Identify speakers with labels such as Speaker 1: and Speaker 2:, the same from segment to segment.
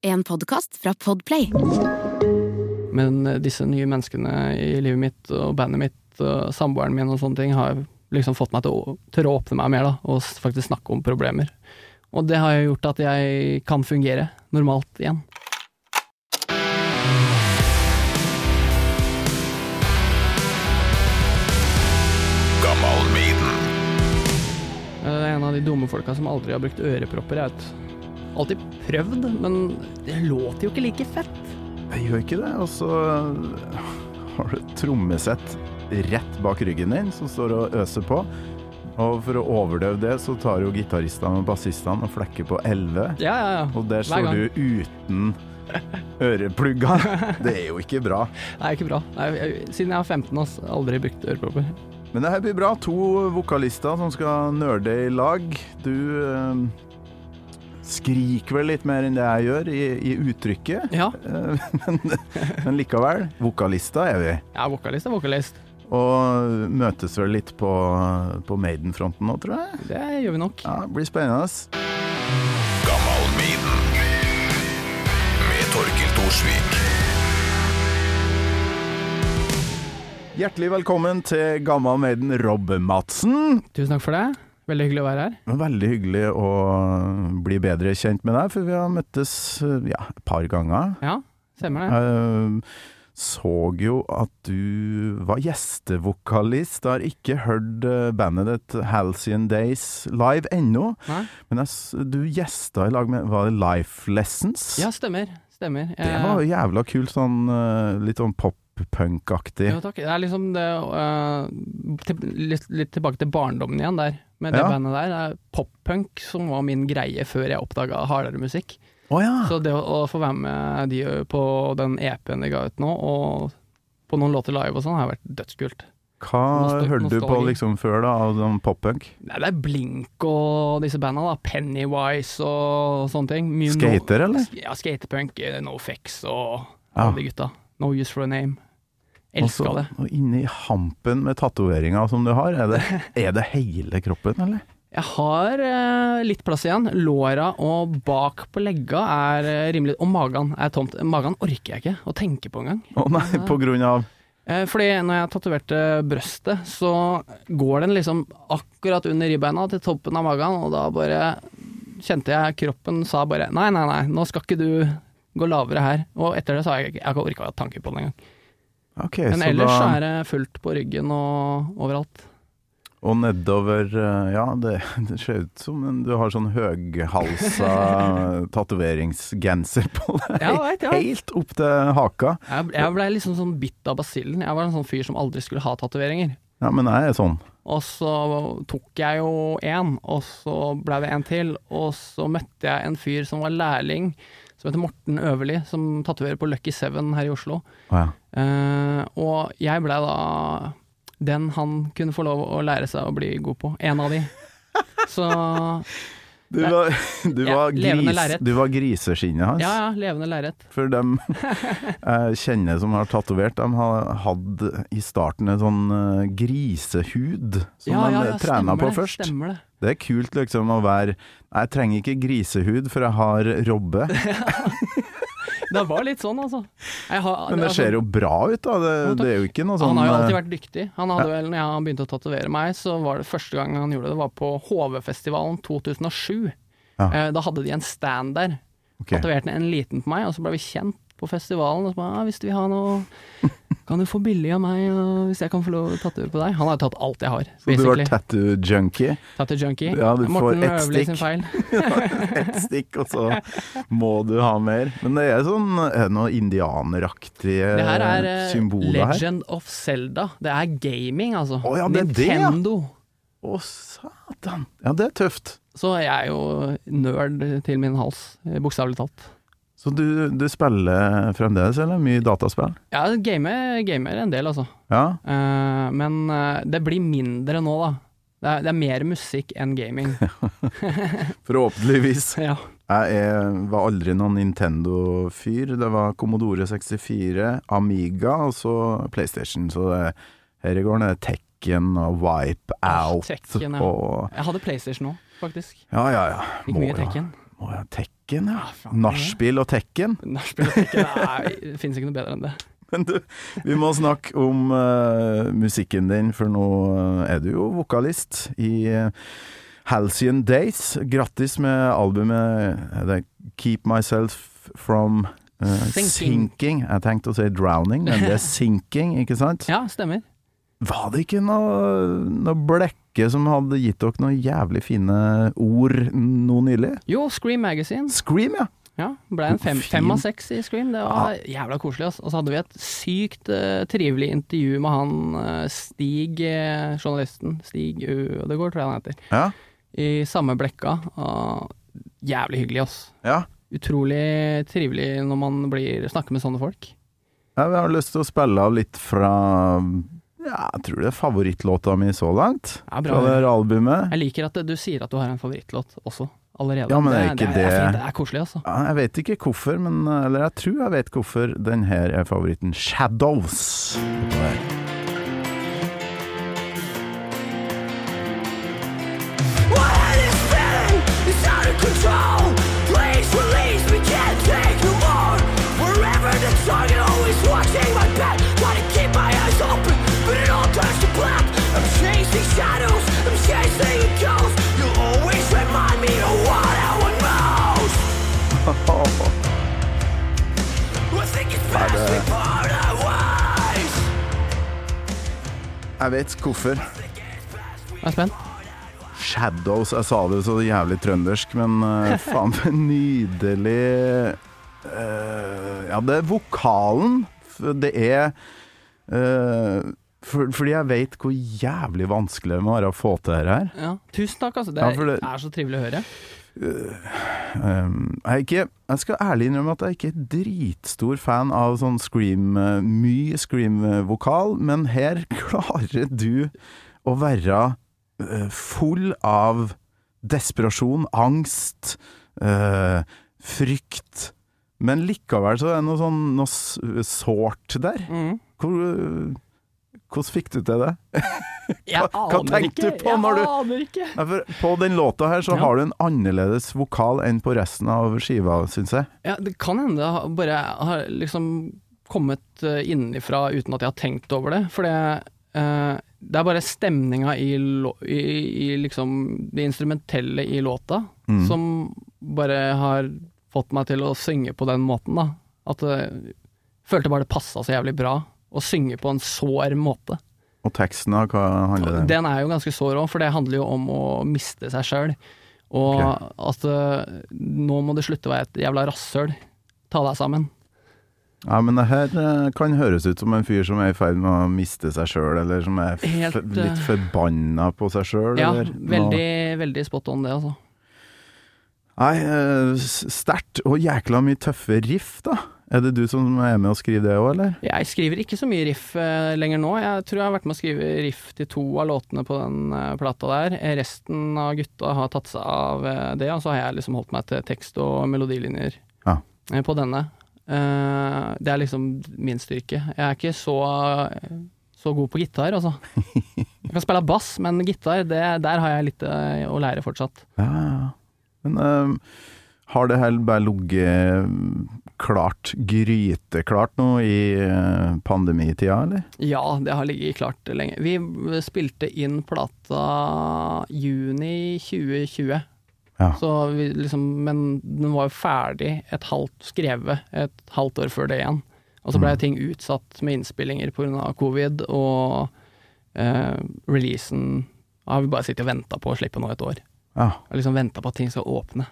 Speaker 1: En podkast fra Podplay.
Speaker 2: Men eh, disse nye menneskene i livet mitt og bandet mitt og samboeren min og sånne ting har liksom fått meg til å tørre å åpne meg mer da, og s- faktisk snakke om problemer. Og det har jo gjort at jeg kan fungere normalt igjen. Eh, En av de dumme folka som aldri har brukt ørepropper, jeg vet. Alltid prøvd, men det låter jo ikke like fett.
Speaker 3: Jeg gjør ikke det, og så eh, har du et trommesett rett bak ryggen din som står og øser på. Og for å overdøve det, så tar jo gitaristene og bassistene og flekker på 11.
Speaker 2: Ja, ja, ja.
Speaker 3: Og der
Speaker 2: Hver
Speaker 3: står
Speaker 2: gang.
Speaker 3: du uten øreplugga. Det er jo ikke bra.
Speaker 2: Det er ikke bra. Nei, jeg, siden jeg var 15, ass. Aldri brukt ørepropper.
Speaker 3: Men det her blir bra. To vokalister som skal nerde i lag. Du eh, skriker vel litt mer enn det jeg gjør i, i uttrykket,
Speaker 2: Ja,
Speaker 3: eh, men, men likevel. Vokalister er vi.
Speaker 2: jeg er vokalist, jeg er vokalist.
Speaker 3: Og møtes vel litt på, på Maiden-fronten nå, tror jeg.
Speaker 2: Det gjør vi nok.
Speaker 3: Ja, det blir spennende. ass.
Speaker 4: med Torkel Thorsvik.
Speaker 3: Hjertelig velkommen til Gammal Maiden Rob Madsen.
Speaker 2: Tusen takk for det. Veldig hyggelig å være her.
Speaker 3: Veldig hyggelig å bli bedre kjent med deg, for vi har møttes ja, et par ganger.
Speaker 2: Ja, stemmer det.
Speaker 3: Jeg så Ehm, jo at du var gjestevokalist. Jeg har ikke hørt eh, bandet ditt Halcyon Days live ennå,
Speaker 2: Nei?
Speaker 3: men jeg, s- du gjesta i lag med Var det Life Lessons?
Speaker 2: Ja, stemmer. Stemmer.
Speaker 3: Det var jo jævla kult, sånn eh, litt sånn pop-punk-aktig.
Speaker 2: Jo, takk. Det er liksom det øh, til, litt, litt tilbake til barndommen igjen der, med det
Speaker 3: Ja.
Speaker 2: bandet der. Det er pop-punk som var min greie før jeg oppdaga hardere musikk.
Speaker 3: Å ja!
Speaker 2: Så det å, å få være med de på den EP-en de ga ut nå, og på noen låter live og sånn, har vært dødskult.
Speaker 3: Hva
Speaker 2: nostal-
Speaker 3: hørte du på
Speaker 2: nostalgi.
Speaker 3: liksom før, da, av sånn pop-punk?
Speaker 2: Nei, det er Blink og disse banda, da. Pennywise og sånne ting. Mye no-
Speaker 3: Skater, eller?
Speaker 2: Ja, skatepunk, eh, NoFX og
Speaker 3: Ja.
Speaker 2: alle de gutta. No Use for a Name. Elska
Speaker 3: Også-
Speaker 2: det.
Speaker 3: Og inni hampen med tatoveringa som du har, er det, er det hele kroppen, eller?
Speaker 2: Jeg har eh, litt plass igjen. Låra og bak på legga er eh, rimelig Og magen er tomt. Magen orker jeg ikke å tenke på engang.
Speaker 3: Å nei, på grunn av
Speaker 2: Eh, fordi når jeg tatoverte brøstet, så går den liksom akkurat under ribbeina til toppen av magen, og da bare kjente jeg kroppen sa bare nei, nei, nei, nå skal ikke du gå lavere her. Og etter det så har jeg, jeg har ikke orka å ha tanke på den engang.
Speaker 3: Ok,
Speaker 2: Men
Speaker 3: så
Speaker 2: ellers så
Speaker 3: da
Speaker 2: er det fullt på ryggen og overalt.
Speaker 3: Og nedover eh, Ja, det, det ser ut som en, du har sånn høghalsa tatoveringsgenser på deg.
Speaker 2: Ja, jeg vet, jeg vet.
Speaker 3: Helt opp til haka.
Speaker 2: Jeg, jeg ble liksom sånn bitt av basillen. Jeg var en sånn fyr som aldri skulle ha tatoveringer.
Speaker 3: Ja, men jeg er sånn.
Speaker 2: Og så tok jeg jo én, og så ble det en til. Og så møtte jeg en fyr som var lærling, som heter Morten Øverli, som tatoverer på Lucky Seven her i Oslo.
Speaker 3: Å ja.
Speaker 2: Eh, og jeg ble da den han kunne få lov å lære seg å bli god på. En av de. Så
Speaker 3: Du var, du
Speaker 2: Ja,
Speaker 3: var,
Speaker 2: levende
Speaker 3: gris,
Speaker 2: lerret.
Speaker 3: du var griseskinnet hans.
Speaker 2: ja, ja, levende lerret.
Speaker 3: For dem jeg kjenner som har tatovert, de har hatt i starten en sånn eh, grisehud som
Speaker 2: ja,
Speaker 3: de trena
Speaker 2: stemmer
Speaker 3: på
Speaker 2: det,
Speaker 3: først.
Speaker 2: Stemmer det.
Speaker 3: Det er kult liksom å være Jeg trenger ikke grisehud, for jeg har robbe.
Speaker 2: Det var litt sånn, altså. Jeg har,
Speaker 3: Men det
Speaker 2: altså,
Speaker 3: ser jo bra ut, da. Det,
Speaker 2: Jo, takk.
Speaker 3: det er jo ikke noe sånn
Speaker 2: Han har jo alltid
Speaker 3: eh,
Speaker 2: vært dyktig. Han hadde vel, når jeg begynte å tatovere meg, så var det første gang han gjorde det, var på HV-festivalen 2007.
Speaker 3: Ja.
Speaker 2: Eh, Da hadde de en stand der.
Speaker 3: ok.
Speaker 2: Tatoverte en liten på meg, og så ble vi kjent på festivalen. Og så bare, ah, hvis du vil ha noe Kan du få billig av meg, og hvis jeg kan få lov å tatovere på deg? Han har tatt alt jeg har,
Speaker 3: Så du var
Speaker 2: basically.
Speaker 3: tattoo junkie.
Speaker 2: Tatt junkie.
Speaker 3: Ja, du får
Speaker 2: Morten
Speaker 3: ett
Speaker 2: Øverli
Speaker 3: stikk.
Speaker 2: sin feil.
Speaker 3: Ett stikk, og så må du ha mer. Men det er sånn eh, noe indianeraktige
Speaker 2: Det her er eh,
Speaker 3: symboler her.
Speaker 2: Legend of Zelda. Det er gaming, altså.
Speaker 3: Å ja, det er det, ja.
Speaker 2: Nintendo.
Speaker 3: Å, satan. Ja, det er tøft.
Speaker 2: Så jeg er jo nerd til min hals, eh, bokstavelig talt.
Speaker 3: Så du, du spiller fremdeles, eller? Mye dataspill?
Speaker 2: Ja, gamer, gamer en del, altså.
Speaker 3: Ja.
Speaker 2: Eh, men eh, det blir mindre nå, da. Det er, det er mer musikk enn gaming.
Speaker 3: Forhåpentligvis.
Speaker 2: ja.
Speaker 3: Jeg er, var aldri noen Nintendo-fyr. Det var Commodore 64, Amiga og så PlayStation. Så det, her i gården er det Tekken og Wipeout
Speaker 2: Tekken, ja.
Speaker 3: og
Speaker 2: Jeg hadde PlayStation nå, faktisk.
Speaker 3: Ja, ja, ja.
Speaker 2: Gikk
Speaker 3: Må
Speaker 2: mye
Speaker 3: jo-
Speaker 2: Tekken.
Speaker 3: Å ja, Tekken, ja.
Speaker 2: faen,
Speaker 3: Nachspiel og Tekken.
Speaker 2: Nachspielmusikken er Det finnes ikke noe bedre enn det.
Speaker 3: Men du, vi må snakke om eh, musikken din, for nå eh, er du jo vokalist i eh, Halcyon Days. Grattis med albumet er det Keep Myself From eh,
Speaker 2: Sinking.
Speaker 3: sinking. Jeg tenkte å si drowning, men det er sinking, ikke sant?
Speaker 2: Ja, stemmer.
Speaker 3: Var det ikke noe, noe blekke som hadde gitt dere noen jævlig fine ord nå nylig?
Speaker 2: Jo, Scream Magazine.
Speaker 3: Scream, ja!
Speaker 2: Ja, ble en fem,
Speaker 3: Fin.
Speaker 2: fem av seks i Scream. Det var jævla koselig. Ass. Og så hadde vi et sykt eh, trivelig intervju med han eh, Stig, eh, journalisten. Stig Ødegård, tror jeg han heter.
Speaker 3: Ja,
Speaker 2: I samme blekka. Og jævlig hyggelig, ass.
Speaker 3: ja.
Speaker 2: Utrolig trivelig når man blir, snakker med sånne folk.
Speaker 3: Jeg har lyst til å spille av litt fra ja, jeg tror det er favorittlåta mi så langt.
Speaker 2: Ja, bra.
Speaker 3: fra det her albumet.
Speaker 2: Jeg liker at du sier at du har en favorittlåt også, allerede.
Speaker 3: Ja, men er ikke
Speaker 2: det, er
Speaker 3: det-
Speaker 2: fint. det er koselig, altså.
Speaker 3: Ja, Jeg vet ikke hvorfor, men Eller jeg tror jeg vet hvorfor den her er favoritten. Shadows. Jeg vet hvorfor.
Speaker 2: Jeg er spent.
Speaker 3: Shadows. Jeg sa det jo så jævlig trøndersk, men eh, faen for en nydelig eh, Ja, det er vokalen. F- Det er eh, for, Fordi jeg vet hvor jævlig vanskelig det må være å få til dette her.
Speaker 2: Ja. Tusen takk, altså. Det
Speaker 3: Ja,
Speaker 2: er,
Speaker 3: for det-
Speaker 2: er så trivelig å høre.
Speaker 3: Um, jeg, er ikke, jeg skal ærlig innrømme at jeg ikke er dritstor fan av sånn scream, eh, mye scream-vokal, men her klarer du å være eh, full av desperasjon, angst, eh, frykt, men likevel så er det noe sånn noe s- sårt der.
Speaker 2: Mm.
Speaker 3: Hvor, eh, hvordan fikk du til det?
Speaker 2: Jeg
Speaker 3: Hva- hva
Speaker 2: aner
Speaker 3: tenkte
Speaker 2: ikke.
Speaker 3: du på når du-
Speaker 2: Jeg aner ikke.
Speaker 3: Nei, for På den låta her så
Speaker 2: Ja.
Speaker 3: har du en annerledes vokal enn på resten av skiva, syns jeg.
Speaker 2: Ja, det kan hende det har- bare har liksom kommet eh, innenfra uten at jeg har tenkt over det. For det, eh, det er bare stemninga i, lå- i, i liksom det instrumentelle i låta
Speaker 3: Mm.
Speaker 2: som bare har fått meg til å synge på den måten, da. At eh, jeg følte bare det passa så jævlig bra å synge på en sår måte.
Speaker 3: Og teksten, da, hva handler den om?
Speaker 2: Den er jo ganske sår òg, for det handler jo om å miste seg sjøl. Og at eh, nå må du slutte å være et jævla rasshøl. Ta deg sammen.
Speaker 3: Ja, men det her eh, kan høres ut som en fyr som er i ferd med å miste seg sjøl, eller som er f
Speaker 2: Helt, eh,
Speaker 3: litt forbanna på seg sjøl.
Speaker 2: Ja,
Speaker 3: eller noe.
Speaker 2: veldig, veldig spot on det, altså.
Speaker 3: Nei, eh, s- sterkt og jækla mye tøffe riff, da. Er det du som er med å skrive det òg, eller?
Speaker 2: Jeg skriver ikke så mye riff eh, lenger nå. Jeg tror jeg har vært med å skrive riff til to av låtene på den eh, plata der. Eh, Resten av gutta har tatt seg av eh, det, og så har jeg liksom holdt meg til tekst og melodilinjer
Speaker 3: Ja.
Speaker 2: eh, på denne. Eh, Det er liksom min styrke. Jeg er ikke så, så god på gitar, altså. Jeg kan spille bass, men gitar, det, der har jeg litt eh, å lære fortsatt.
Speaker 3: Ja, ja. Men eh, har det her bare ligget eh, klart, gryteklart nå i eh, pandemitida, eller?
Speaker 2: Ja, det har ligget klart lenge. Vi spilte inn plata juni 2020.
Speaker 3: Ja.
Speaker 2: Så vi liksom, men den var jo ferdig et halvt skrevet et halvt år før det igjen. Og så
Speaker 3: Mm.
Speaker 2: ble ting utsatt med innspillinger pga. covid, og eh, releasen har vi bare sittet og venta på å slippe nå et år.
Speaker 3: Ja.
Speaker 2: Og liksom venta på at ting skal åpne.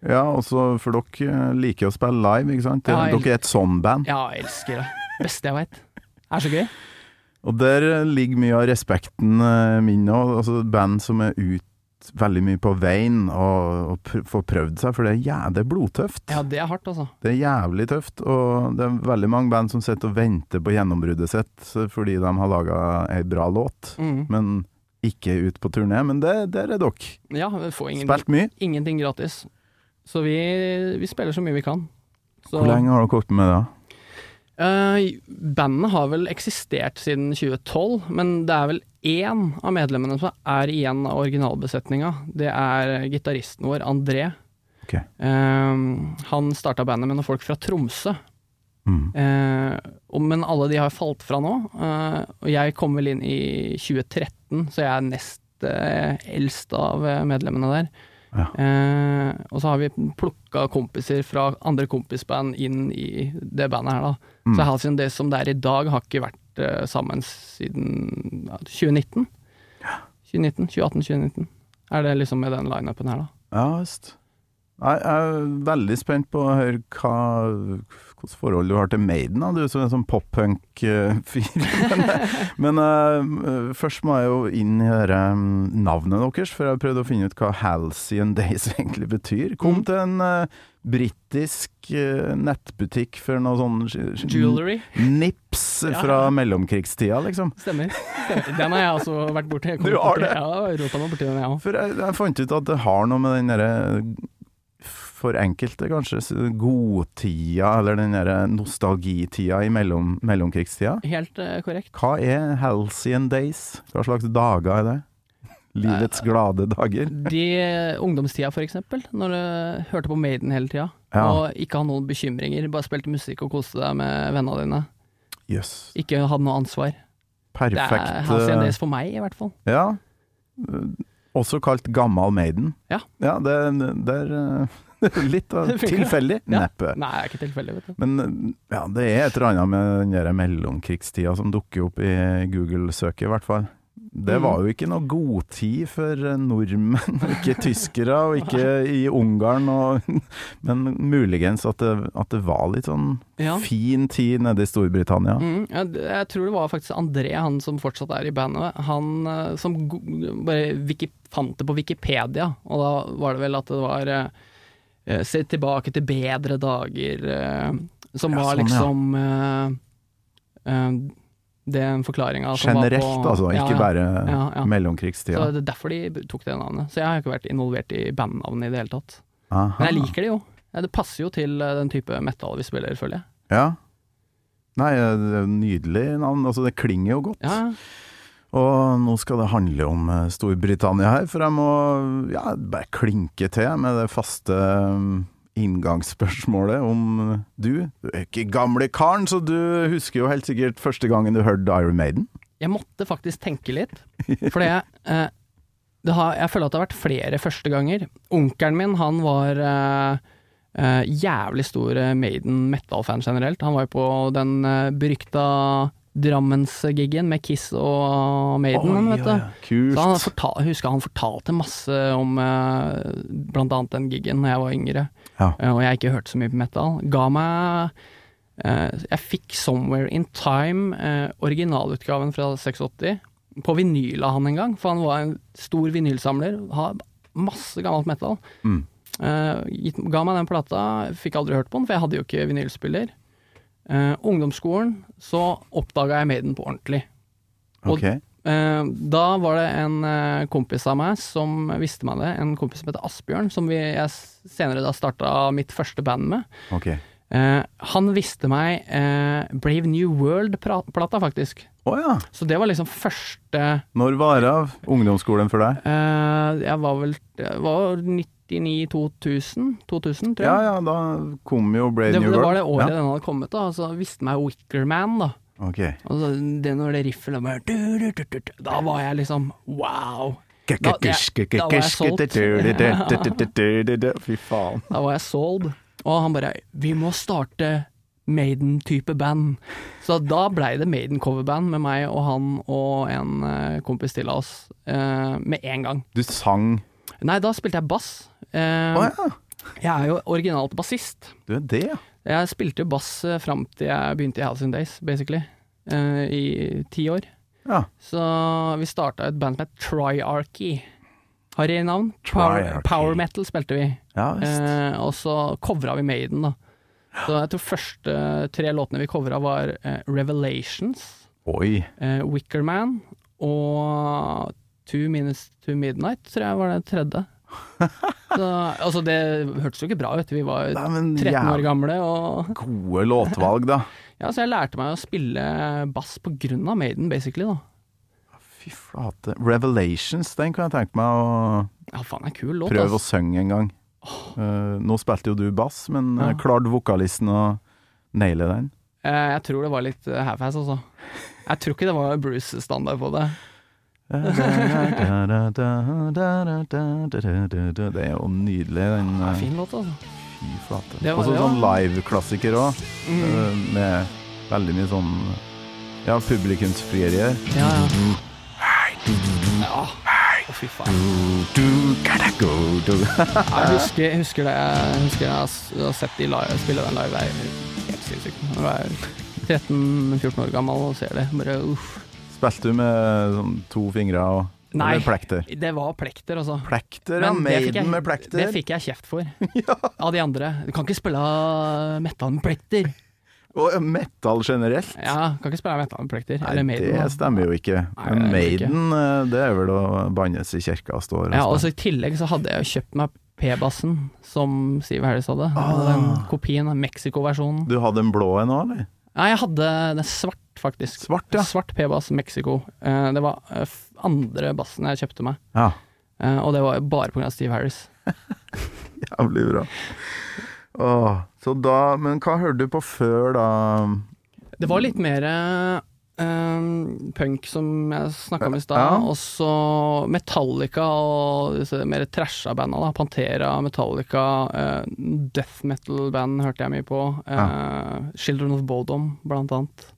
Speaker 3: ja, også for dere eh, liker å spille live, ikke sant?
Speaker 2: Ja, jeg-
Speaker 3: dere er et sånn band.
Speaker 2: Ja, jeg elsker det. Beste jeg veit. Er så gøy.
Speaker 3: Og der eh, ligger mye av respekten eh, min òg. Altså band som er ut veldig mye på veien og, og pr får prøvd seg, for det er, jæ det er blodtøft.
Speaker 2: Ja, det er hardt, altså.
Speaker 3: Det er jævlig tøft, og det er veldig mange band som sitter og venter på gjennombruddet sitt eh, fordi de har laga ei bra låt,
Speaker 2: Mm.
Speaker 3: men ikke ut på turné. Men det, der er dere.
Speaker 2: Ja, vi får ingen
Speaker 3: Spilt mye.
Speaker 2: ingenting gratis. Så vi, vi spiller så mye vi kan. Så,
Speaker 3: Hvor lenge har dere holdt på med det? da?
Speaker 2: Eh, bandet har vel eksistert siden 2012, men det er vel én av medlemmene som er igjen av originalbesetninga. Det er gitaristen vår, André.
Speaker 3: Ok.
Speaker 2: Ehm, han starta bandet med noen folk fra Tromsø,
Speaker 3: Mm.
Speaker 2: Eh, og, men alle de har falt fra nå. Eh, og jeg kom vel inn i 2013, så jeg er nest eh, eldst av eh, medlemmene der.
Speaker 3: Ja.
Speaker 2: Eh, og så har vi plukka kompiser fra andre kompisband inn i det bandet her, da.
Speaker 3: Mm.
Speaker 2: Så Halcyon, det som det er i dag, har ikke vært eh, sammen siden ja, 2019. 2019, 2018-2019 er det liksom med den lineupen her, da.
Speaker 3: Ja visst. Jeg er veldig spent på å høre hva hvilket forhold du har til Maiden, da, du som er sånn pop-punk-fyr. Men, men eh, først må jeg jo inn i dette mm, navnet deres, for jeg har prøvd å finne ut hva Halcyon Days egentlig betyr. Kom
Speaker 2: Mm.
Speaker 3: til en uh, britisk eh, nettbutikk for noe sånn sk- sk-
Speaker 2: Jewelry.
Speaker 3: nips
Speaker 2: Ja.
Speaker 3: fra mellomkrigstida, liksom.
Speaker 2: Stemmer. Stemmer. Den har jeg også vært borti. Jeg kom
Speaker 3: Du har
Speaker 2: borti-
Speaker 3: det?
Speaker 2: Ja, rota meg borti den, jeg òg.
Speaker 3: For jeg, jeg fant ut at det har noe med den derre For enkelte, kanskje, s- godtida, eller den derre nostalgitida i mellom, mellomkrigstida.
Speaker 2: Helt eh, korrekt.
Speaker 3: Hva er Halcyon Days? Hva slags dager er det? Livets glade dager?
Speaker 2: De eh, ungdomstida, for eksempel, når du hørte på Maiden hele tida,
Speaker 3: Ja.
Speaker 2: og ikke hadde noen bekymringer, bare spilte musikk og koste deg med vennene dine,
Speaker 3: Jøss. Yes.
Speaker 2: ikke hadde noe ansvar. Det er
Speaker 3: Perfekt.
Speaker 2: Halcyon
Speaker 3: eh,
Speaker 2: Days for meg, i hvert fall.
Speaker 3: Ja. Eh, Også kalt Gammal Maiden.
Speaker 2: Ja.
Speaker 3: ja det, det er eh, litt av
Speaker 2: Det funker, da.
Speaker 3: tilfeldig.
Speaker 2: Ja.
Speaker 3: Neppe.
Speaker 2: Nei, det er ikke tilfeldig, vet du.
Speaker 3: Men ja, det er et eller annet med den der mellomkrigstida som dukker opp i Google-søket, i hvert fall. Det
Speaker 2: Mhm.
Speaker 3: var jo ikke noe god tid for eh, nordmenn, ikke tyskere, og ikke i Ungarn. Og, men muligens at det, at det var litt sånn
Speaker 2: Ja.
Speaker 3: fin tid nede i Storbritannia.
Speaker 2: Mm, ja, d- jeg tror det var faktisk André, han som fortsatt er i bandet, han eh, som go- bare wiki, fant det på Wikipedia, og da var det vel at det var eh, eh, Se tilbake til bedre dager, eh, som
Speaker 3: Ja,
Speaker 2: var
Speaker 3: sånn, ja.
Speaker 2: liksom eh, eh, Den forklaringa som
Speaker 3: Generelt,
Speaker 2: var på
Speaker 3: altså,
Speaker 2: Ja,
Speaker 3: ikke
Speaker 2: ja.
Speaker 3: bare
Speaker 2: Ja, ja. Så
Speaker 3: mellomkrigstida.
Speaker 2: det er derfor de tok det navnet. Så jeg har ikke vært involvert i bandnavnet i det hele tatt. Men
Speaker 3: Aha.
Speaker 2: jeg liker det jo. Ja, det passer jo til eh, den type metal vi spiller, føler jeg.
Speaker 3: Ja. Nei, det er nydelig navn. Altså, det klinger jo godt.
Speaker 2: Ja, ja.
Speaker 3: Og nå skal det handle om eh, Storbritannia her, for jeg må ja, bare klinke til med det faste mm, inngangsspørsmålet om du. Du er ikke gamle karen, så du husker jo helt sikkert første gangen du hørte Iron Maiden.
Speaker 2: Jeg måtte faktisk tenke litt, fordi jeg, eh, det har, jeg føler at det har vært flere første ganger. Onkelen min han var eh, eh, jævlig stor eh, Maiden metal-fan generelt. Han var jo på den eh, berykta Drammens-giggen med Kiss og Maiden,
Speaker 3: Oi,
Speaker 2: vet du.
Speaker 3: ja, ja. Kult.
Speaker 2: Så han fortal, jeg husker han fortalte masse om eh, blant annet den giggen da jeg var yngre,
Speaker 3: Ja.
Speaker 2: eh, og jeg ikke hørte så mye på metal. Ga meg eh, Jeg fikk Somewhere In Time, eh, originalutgaven fra 86, på vinyl av han en gang, for han var en stor vinylsamler. Har masse gammelt metal.
Speaker 3: Mm.
Speaker 2: Eh, gitt, ga meg den plata, fikk aldri hørt på den, for jeg hadde jo ikke vinylspiller. Eh, ungdomsskolen, så oppdaga jeg Maiden på ordentlig. Og
Speaker 3: Ok.
Speaker 2: Eh, da var det en eh, kompis av meg som visste meg det, en kompis som heter Asbjørn, som vi, jeg s- senere da starta mitt første band med.
Speaker 3: ok.
Speaker 2: Eh, han visste meg eh, Brave New World-plata, faktisk.
Speaker 3: Å ja.
Speaker 2: Så det var liksom første
Speaker 3: Når varer av ungdomsskolen for deg?
Speaker 2: eh, Jeg var vel jeg var 99-2000, 2000, tror jeg.
Speaker 3: Ja ja, da kom jo Brave
Speaker 2: det,
Speaker 3: New
Speaker 2: det var
Speaker 3: World.
Speaker 2: det året
Speaker 3: Ja.
Speaker 2: den hadde kommet, da. Og så visste meg Wickerman, da.
Speaker 3: Ok.
Speaker 2: Og så det når det riffet da bare du, du, du, du, du, Da var jeg liksom wow. Da, det, da var jeg solgt.
Speaker 3: Fy faen.
Speaker 2: Da var jeg sold. Og han bare 'Vi må starte Maiden-type band'. Så da blei det Maiden-coverband med meg og han og en eh, kompis til av oss eh, med en gang.
Speaker 3: Du sang
Speaker 2: Nei, da spilte jeg bass. Eh,
Speaker 3: Å ja,
Speaker 2: Jeg er jo originalt bassist.
Speaker 3: du er det, ja.
Speaker 2: Jeg spilte jo bass eh, fram til jeg begynte i House in Days, basically. eh, I ti år.
Speaker 3: Ja.
Speaker 2: Så vi starta et band som het Triarchy. Harry navn. Power,
Speaker 3: Triarchy.
Speaker 2: power metal spilte vi.
Speaker 3: Ja visst.
Speaker 2: Eh, og så covra vi Maiden, da. Så jeg tror første tre låtene vi covra, var eh, Revelations,
Speaker 3: Oi.
Speaker 2: eh, Wickerman og Two Minutes to Midnight, tror jeg var det tredje. Så, altså, det hørtes jo ikke bra ut, vi var
Speaker 3: Nei, men
Speaker 2: 13 år gamle, og
Speaker 3: Gode låtvalg, da.
Speaker 2: ja, så jeg lærte meg å spille bass på grunn av Maiden, basically, da.
Speaker 3: Fy flate. Revelations, den kan jeg tenke meg å
Speaker 2: Ja, faen, det er en kul låt,
Speaker 3: prøve å
Speaker 2: ass.
Speaker 3: synge en gang. Eh, nå spilte jo du bass, men eh,
Speaker 2: Ja.
Speaker 3: klarte vokalisten å naile den?
Speaker 2: Eh, Jeg tror det var litt eh, half-ass, altså. Jeg tror ikke det var Bruce-standard på det.
Speaker 3: Det er jo nydelig, den
Speaker 2: det er
Speaker 3: eh,
Speaker 2: fin låt, altså.
Speaker 3: fy flate.
Speaker 2: Det var-
Speaker 3: Og så
Speaker 2: det var-
Speaker 3: sånn live-klassiker òg,
Speaker 2: Mm.
Speaker 3: med veldig mye sånn ja, publikumsfrierier.
Speaker 2: Ja, ja. ja. Å, fy faen. Jeg husker, jeg husker det jeg husker jeg har s- jeg har sett de live, spille den live. Det er helt sinnssykt. Når du er 13-14 år gammel og ser det, bare uff.
Speaker 3: Spilte du med sånn to fingre og
Speaker 2: Nei.
Speaker 3: Eller plekter?
Speaker 2: Det var plekter, altså.
Speaker 3: Plekter, ja.
Speaker 2: Men det fikk jeg-
Speaker 3: Maiden med
Speaker 2: Det
Speaker 3: plekter.
Speaker 2: fikk jeg kjeft for av de andre. Du kan ikke spille metal med plekter.
Speaker 3: Og metal generelt.
Speaker 2: Ja, kan ikke spille metal med plekter.
Speaker 3: Nei,
Speaker 2: Eller Maiden. da.
Speaker 3: det stemmer jo ikke.
Speaker 2: Nei,
Speaker 3: Men
Speaker 2: det gjør det ikke.
Speaker 3: Maiden, eh, det er vel å bannes i kirka og stå og
Speaker 2: Ja, altså- og
Speaker 3: spille.
Speaker 2: så I tillegg så hadde jeg jo kjøpt meg P-bassen, som Siv Harris hadde. Og
Speaker 3: Ah.
Speaker 2: Den kopien, Mexico-versjonen.
Speaker 3: Du hadde en blå en òg, eller?
Speaker 2: Nei, jeg hadde den svart, faktisk.
Speaker 3: Svart, ja.
Speaker 2: Svart P-bass Mexico. Eh, Det var eh, f- andre bassen jeg kjøpte meg,
Speaker 3: Ja,
Speaker 2: Eh, og det var jo bare pga. Steve Harris.
Speaker 3: Jævlig bra. Åh, så da, men hva hørte du på før, da?
Speaker 2: Det var litt mer eh, punk, som jeg snakka om i stad,
Speaker 3: Ja.
Speaker 2: og så Metallica og disse mer trasha banda. da Pantera, Metallica, eh, death metal-band hørte jeg mye på. Eh, Children of Bodom, blant annet.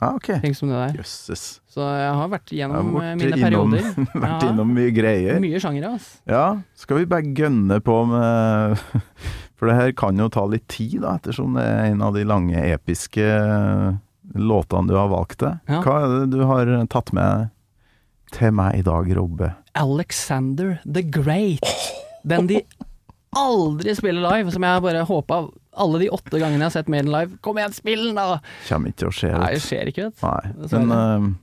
Speaker 3: Ja, ok.
Speaker 2: Ting som det der.
Speaker 3: Jøsses.
Speaker 2: Så jeg har vært
Speaker 3: Jeg har
Speaker 2: gjennom eh,
Speaker 3: vært
Speaker 2: mine
Speaker 3: innom-
Speaker 2: perioder.
Speaker 3: Vært
Speaker 2: Ja,
Speaker 3: innom mye greier.
Speaker 2: Mye sjangere, altså.
Speaker 3: Ja, skal vi bare gønne på med For det her kan jo ta litt tid, da, ettersom det er en av de lange, episke eh, låtene du har valgt deg.
Speaker 2: Ja.
Speaker 3: Hva er det du har tatt med til meg i dag, Robbe?
Speaker 2: Alexander the Great. Den de aldri spiller live, som jeg bare håpa alle de åtte gangene jeg har sett Maiden live. Kom igjen, spill den, da!
Speaker 3: Kommer ikke til å skje.
Speaker 2: Nei, det
Speaker 3: vet du.
Speaker 2: skjer ikke, vet du.
Speaker 3: Nei.
Speaker 2: dessverre.
Speaker 3: Men eh,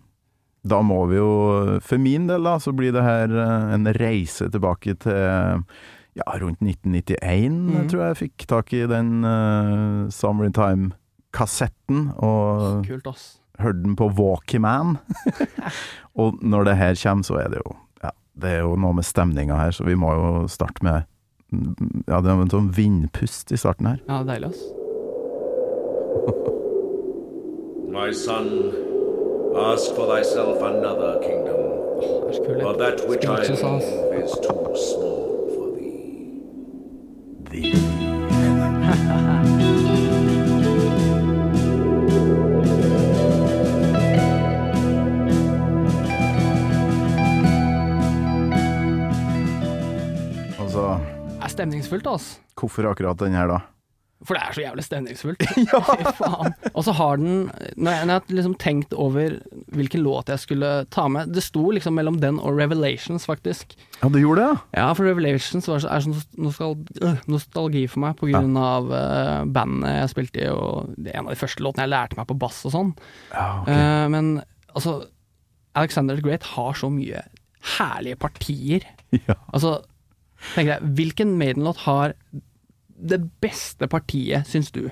Speaker 3: da må vi jo For min del, da, så blir det her eh, en reise tilbake til ja, rundt 1991,
Speaker 2: Mhm.
Speaker 3: tror jeg jeg fikk tak i den eh, Summertime-kassetten. Og
Speaker 2: Kult, ass.
Speaker 3: hørte den på Walkman. og når det her kommer, så er det jo ja, Det er jo noe med stemninga her, så vi må jo starte med Ja, det er en sånn vindpust i starten her.
Speaker 2: Ja, deilig, ass.
Speaker 5: My son, ask for thyself another kingdom,
Speaker 2: Det er så kul,
Speaker 5: for
Speaker 2: det.
Speaker 5: that which I
Speaker 2: Screeches off.
Speaker 5: love is too small for thee.
Speaker 3: Altså,
Speaker 2: Det er stemningsfullt, ass.
Speaker 3: hvorfor akkurat den her, da?
Speaker 2: For det er så jævlig stemningsfullt. Fy faen. Og så har den Når jeg, når jeg har liksom tenkt over hvilken låt jeg skulle ta med Det sto liksom mellom den og Revelations, faktisk.
Speaker 3: Ja, du gjorde det, ja?
Speaker 2: Ja, for Revelations var, så- er sånn nostal- øh, nostalgi for meg på grunn av eh, bandet jeg spilte i, og det er en av de første låtene jeg lærte meg på bass og sånn. Eh, men altså, Alexander the Great har så mye herlige partier.
Speaker 3: Ja.
Speaker 2: Altså, tenker jeg, hvilken Maiden-låt har det beste partiet, syns du?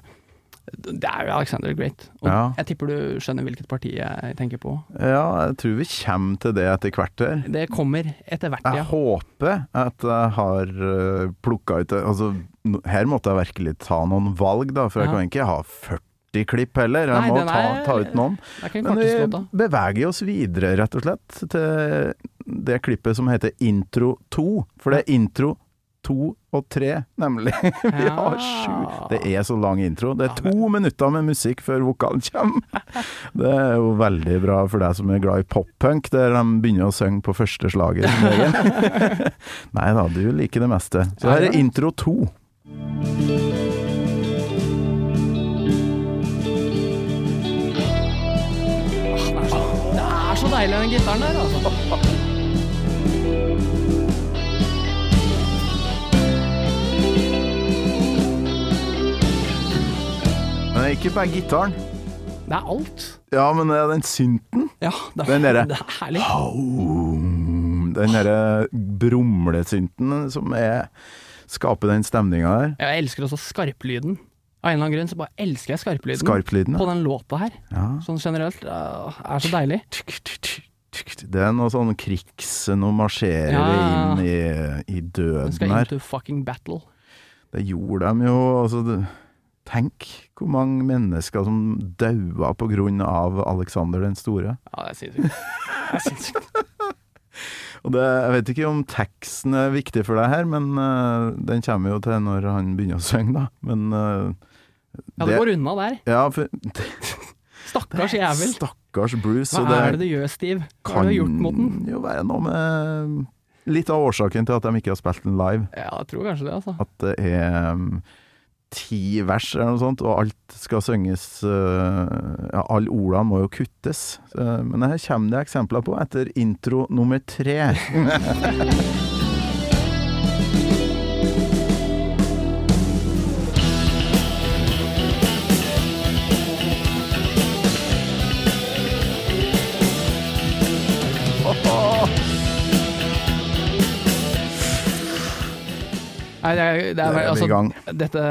Speaker 2: Det er jo Alexander the Great. Og
Speaker 3: Ja.
Speaker 2: jeg tipper du skjønner hvilket parti jeg tenker på.
Speaker 3: ja, jeg tror vi kommer til det etter hvert her.
Speaker 2: Det kommer etter hvert, ja.
Speaker 3: Jeg håper at jeg har uh, plukka ut det. Altså, n- her måtte jeg virkelig ta noen valg, da, for jeg
Speaker 2: Ja.
Speaker 3: kan ikke ha 40 klipp heller.
Speaker 2: Nei,
Speaker 3: Jeg må
Speaker 2: den
Speaker 3: ta,
Speaker 2: er-
Speaker 3: ta ut noen.
Speaker 2: Det er ikke den
Speaker 3: Men
Speaker 2: korteste
Speaker 3: vi
Speaker 2: låta.
Speaker 3: beveger oss videre, rett og slett, til det klippet som heter Intro 2. For det er intro 2 og 3, nemlig. Vi har sju. Det er så lang intro. Det er to minutter med musikk før vokalen kommer. Det er jo veldig bra for deg som er glad i poppunk, der de begynner å synge på første slaget. som regel. Nei da, du liker det meste. Så her er intro 2.
Speaker 2: Det er så deilig den gitaren der, altså.
Speaker 3: Men det er ikke bare gitaren.
Speaker 2: Det er alt.
Speaker 3: Ja, men det er den synten.
Speaker 2: Ja, det
Speaker 3: Den derre.
Speaker 2: Det er herlig.
Speaker 3: Boom. Den derre brumlesynten som er Skaper den stemninga der.
Speaker 2: Jeg elsker også skarplyden. Av en eller annen grunn så bare elsker jeg skarplyden
Speaker 3: Skarplyden.
Speaker 2: på
Speaker 3: ja.
Speaker 2: den låta her.
Speaker 3: Ja.
Speaker 2: Sånn generelt. øh, er så deilig.
Speaker 3: Det er noe sånn krigs... Noe marsjerer
Speaker 2: Ja, ja, ja.
Speaker 3: inn i, i
Speaker 2: Den skal
Speaker 3: døden her.
Speaker 2: into fucking battle.
Speaker 3: Det gjorde de jo altså, det, Tenk hvor mange mennesker som daua på grunn av Alexander den store.
Speaker 2: Ja, det er sinnssykt. Det er sinnssykt.
Speaker 3: Og det, Jeg vet ikke om teksten er viktig for deg her, men eh, den kommer jo til når han begynner å synge, da. Men eh,
Speaker 2: Ja, det
Speaker 3: det-
Speaker 2: går unna der.
Speaker 3: Ja, for
Speaker 2: Stakkars jævel.
Speaker 3: Stakkars Bruce.
Speaker 2: Hva
Speaker 3: og det
Speaker 2: er det du gjør, Steve? Hva har du gjort mot den?
Speaker 3: jo være noe med Litt av årsaken til at de ikke har spilt den live.
Speaker 2: Ja, jeg tror kanskje det, altså.
Speaker 3: At det er mm, ti vers eller noe sånt, og alt skal synges eh, Ja, alle ordene må jo kuttes. Eh, Men her kommer det eksempler på etter intro nummer tre.
Speaker 2: Nei, det, er, det,
Speaker 3: Der
Speaker 2: er,
Speaker 3: er vi i gang.
Speaker 2: altså, dette,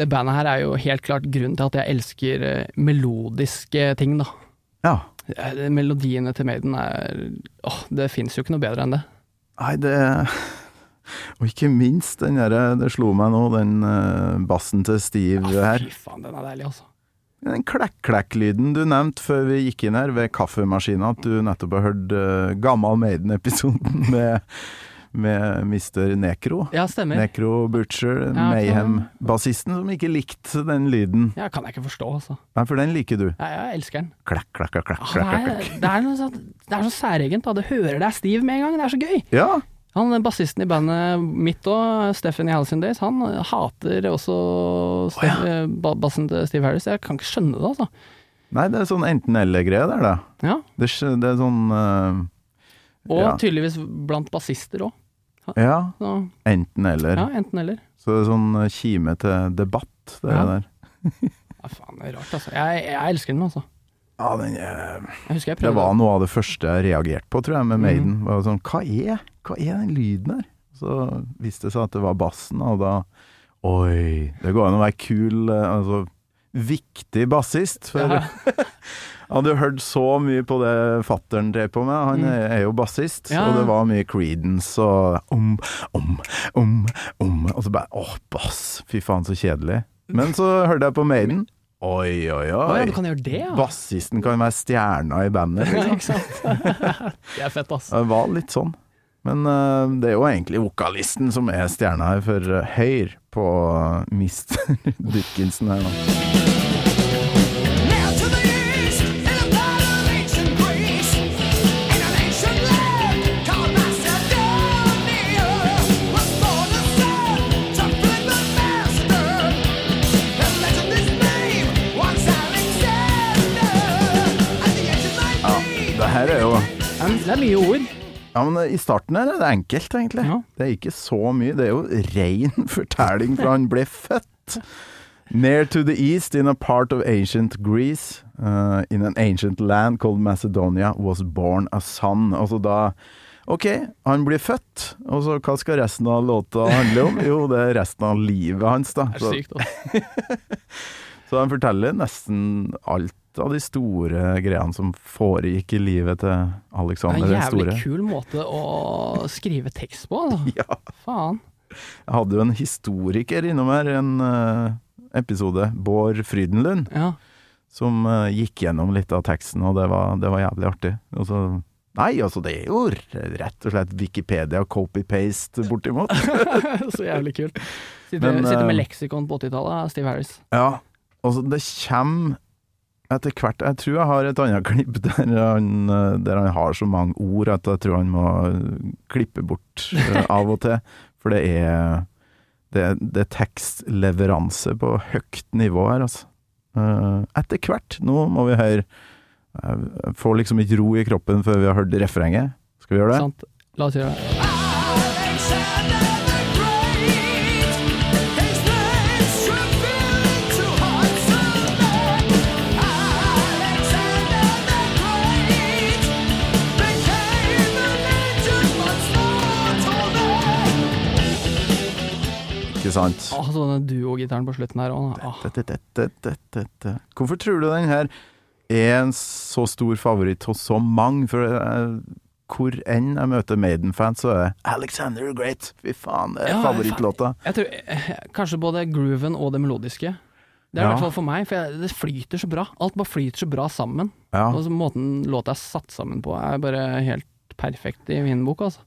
Speaker 2: det bandet her er jo helt klart grunnen til at jeg elsker eh, melodiske ting, da.
Speaker 3: Ja.
Speaker 2: Eh, Melodiene til Maiden er Åh, det fins jo ikke noe bedre enn det.
Speaker 3: Nei, det Og ikke minst den derre Det slo meg nå, den eh, bassen til Steve
Speaker 2: Ja,
Speaker 3: her.
Speaker 2: fy faen, den er deilig, altså.
Speaker 3: Den klekk-klekk-lyden du nevnte før vi gikk inn her, ved kaffemaskina, at du nettopp har hørt eh, Gammal Maiden-episoden med, med Mr. Nekro.
Speaker 2: Ja, stemmer.
Speaker 3: Necro Butcher,
Speaker 2: Ja,
Speaker 3: Mayhem-bassisten, som ikke likte den lyden.
Speaker 2: Ja, kan jeg ikke forstå, altså.
Speaker 3: Nei, for den liker du.
Speaker 2: Jeg, jeg elsker den.
Speaker 3: Klakk, klakk, klakk,
Speaker 2: Ah,
Speaker 3: klakk, klakk,
Speaker 2: det,
Speaker 3: klakk.
Speaker 2: er, det, er noe sånn, det er så særegent, da. Du hører det er Steve med en gang. Det er så gøy.
Speaker 3: Ja,
Speaker 2: Han bassisten i bandet mitt òg, Stephen i Halcyon Days, han hater også Ste- eh, ba- bassen til Steve Harris. Jeg kan ikke skjønne det, altså.
Speaker 3: nei, det er sånn enten-eller-greie der, da.
Speaker 2: Ja.
Speaker 3: Det, er- det er sånn
Speaker 2: Og
Speaker 3: Ja.
Speaker 2: tydeligvis blant bassister òg.
Speaker 3: eh, Ja,
Speaker 2: Så ja,
Speaker 3: enten-eller.
Speaker 2: enten eller.
Speaker 3: Så det er sånn eh, kime til debatt, det
Speaker 2: Ja.
Speaker 3: der.
Speaker 2: Ja, faen, det er rart, altså. Jeg, jeg elsker den, altså.
Speaker 3: Ja, den er
Speaker 2: Jeg husker jeg Mhm.
Speaker 3: Det
Speaker 2: prøvde.
Speaker 3: var noe av det første jeg reagerte på, tror jeg, med Maiden. Var sånn, hva er, hva er den lyden der? Så viste det seg at det var bassen, og da Oi! Det går an å være kul, eh, altså viktig bassist. For
Speaker 2: Ja.
Speaker 3: jeg hadde jo hørt så mye på det fattern drev på med. Han er- er jo bassist,
Speaker 2: Mm. Ja.
Speaker 3: og det var mye Creedence og om, om, om, om Og så bare Åh, bass! Fy faen, så kjedelig. Men så hørte jeg på Maiden. Oi, oi, oi!
Speaker 2: Å ja, du kan gjøre det, ja.
Speaker 3: Bassisten kan være stjerna i bandet. liksom.
Speaker 2: Ja, ikke sant? det er fett, altså.
Speaker 3: Det var litt sånn. Men eh, det er jo egentlig vokalisten som er stjerna her, for uh, høyr på eh, Mr. Dickinson her, da.
Speaker 6: Ja,
Speaker 3: Oh.
Speaker 6: det her er jo
Speaker 2: Det er- Det er mye ord.
Speaker 3: Ja, men eh, i starten her er det enkelt, egentlig.
Speaker 2: Ja.
Speaker 3: Det er ikke så mye. Det er jo rein fortelling fra han ble født. Near to the east, in a part of ancient Greece, eh, in an ancient land called Macedonia, was born a son. Altså da Ok, han blir født, og så hva skal resten av låta handle om? Jo, det er resten av livet hans, da.
Speaker 2: Det er
Speaker 3: Så-
Speaker 2: sykt, altså.
Speaker 3: Så han forteller nesten alt av de store greiene som foregikk i livet til
Speaker 2: Det er
Speaker 3: Alexander
Speaker 2: en
Speaker 3: den
Speaker 2: jævlig
Speaker 3: store.
Speaker 2: kul måte å skrive tekst på, altså.
Speaker 3: Ja,
Speaker 2: Faen.
Speaker 3: jeg hadde jo en historiker innom her, en eh, episode, Bård Frydenlund,
Speaker 2: Ja.
Speaker 3: som eh, gikk gjennom litt av teksten, og det var, det var jævlig artig. Og så, nei, altså det er jo rett og slett Wikipedia copy-paste bortimot.
Speaker 2: Så jævlig kult. Sitter,
Speaker 3: Men,
Speaker 2: sitter med
Speaker 3: eh,
Speaker 2: leksikon på 80-tallet, Steve Harris.
Speaker 3: Ja, altså det kommer etter hvert Jeg tror jeg har et annet klipp der han, eh, der han har så mange ord at jeg tror han må klippe bort eh, av og til. For det er, det, er- det er tekstleveranse på høyt nivå her, altså. Eh, Etter hvert. Nå må vi høre Jeg får liksom ikke ro i kroppen før vi har hørt refrenget. Skal vi gjøre det?
Speaker 2: Sant? La oss gjøre det.
Speaker 3: Ikke sant?
Speaker 2: Å, så denne duo-gitaren på slutten her òg. Åh,
Speaker 3: Tete-tete-tete-tete. Hvorfor tror du den her er en så stor favoritt hos så mange? For jeg eh, hvor enn jeg møter Maiden-fans, så er det 'Alexander the Great'. Fy faen, det er
Speaker 2: Ja,
Speaker 3: favorittlåta.
Speaker 2: Jeg tror eh, Kanskje både grooven og det melodiske. Det er i
Speaker 3: Ja.
Speaker 2: hvert fall for meg, for jeg, det flyter så bra. Alt bare flyter så bra sammen.
Speaker 3: Ja.
Speaker 2: Og så Måten låta er satt sammen på, er bare helt perfekt i min bok, altså.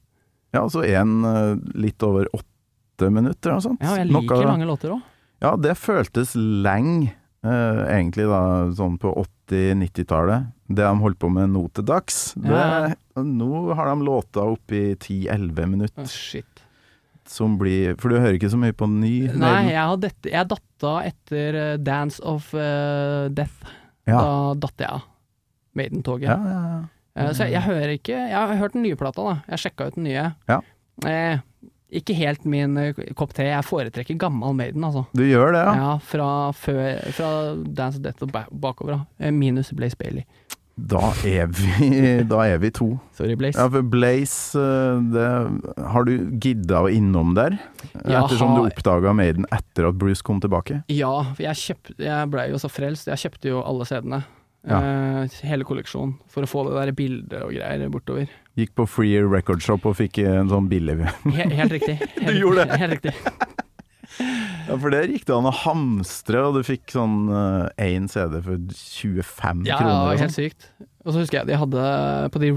Speaker 3: ja, og så en eh, litt over åtte minutter og sånt.
Speaker 2: Ja, og jeg liker
Speaker 3: Noe-
Speaker 2: lange låter òg.
Speaker 3: Ja, det føltes lenge, eh, egentlig, da, sånn på 80-90-tallet. Det de holdt på med nå til dags. Det,
Speaker 2: Ja.
Speaker 3: Nå har de låta oppi 10-11 minutter,
Speaker 2: Shit.
Speaker 3: som blir For du hører ikke så mye på ny
Speaker 2: Nei, jeg, har dette, jeg datta etter eh, Dance of eh, Death.
Speaker 3: Ja.
Speaker 2: Da datt jeg av Maiden-toget.
Speaker 3: Ja, ja, ja.
Speaker 2: Eh, så jeg, jeg hører ikke Jeg har hørt den nye plata, da. Jeg sjekka ut den nye.
Speaker 3: Ja.
Speaker 2: Eh, ikke helt min eh, kopp te. Jeg foretrekker gammel Maiden, altså.
Speaker 3: Du gjør det,
Speaker 2: Ja,
Speaker 3: ja?
Speaker 2: fra, før, fra Dance of Death og ba- bakover, da. Eh, Minus Blaze Bailey.
Speaker 3: Da er vi, da er vi to.
Speaker 2: Sorry, Blaze.
Speaker 3: Ja, for Blaze, eh, det, har du gidda å innom der?
Speaker 2: Jeg
Speaker 3: Ettersom du
Speaker 2: har-
Speaker 3: oppdaga Maiden etter at Bruce kom tilbake?
Speaker 2: Ja, for jeg, kjøpt, jeg ble jo så frelst. Jeg kjøpte jo alle CD-ene.
Speaker 3: Ja.
Speaker 2: Eh, hele kolleksjonen. For å få det der bildet og greier bortover.
Speaker 3: Gikk på Free Record Shop og fikk en sånn billig
Speaker 2: He helt riktig. Helt,
Speaker 3: gjorde det.
Speaker 2: Helt riktig.
Speaker 3: Ja, for der gikk det an å hamstre, og du fikk sånn én CD for 25
Speaker 2: Ja, ja,
Speaker 3: kroner. og
Speaker 2: helt
Speaker 3: sånt.
Speaker 2: sykt. Og så husker jeg de hadde på de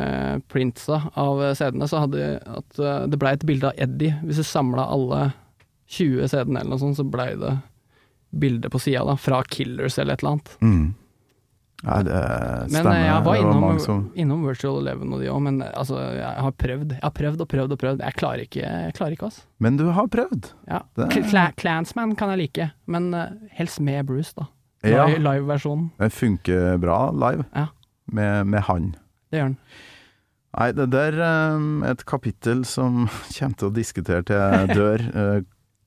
Speaker 2: reprintsa av CD-ene, så hadde de at eh, det blei et bilde av Eddie. Hvis du samla alle 20 CD-ene eller noe sånt, så blei det bilde på sida, da. Fra Killers eller et eller annet.
Speaker 3: Mm. Nei, det
Speaker 2: Men
Speaker 3: stemmer.
Speaker 2: eh, jeg var
Speaker 3: det var
Speaker 2: innom,
Speaker 3: mange som
Speaker 2: innom Virtual Eleven og de òg, men eh, altså, jeg har prøvd. Jeg har prøvd og prøvd og prøvd. Jeg klarer ikke, jeg klarer ikke altså.
Speaker 3: Men du har prøvd!
Speaker 2: Ja.
Speaker 3: Det-
Speaker 2: Cl- Cla Clansman kan jeg like, men eh, helst med Bruce, da.
Speaker 3: Ja.
Speaker 2: Live- Live-versjonen.
Speaker 3: Den funker bra live,
Speaker 2: Ja.
Speaker 3: med, med han.
Speaker 2: det gjør den.
Speaker 3: Nei, det der um, et kapittel som kommer til å diskutere til jeg dør. eh,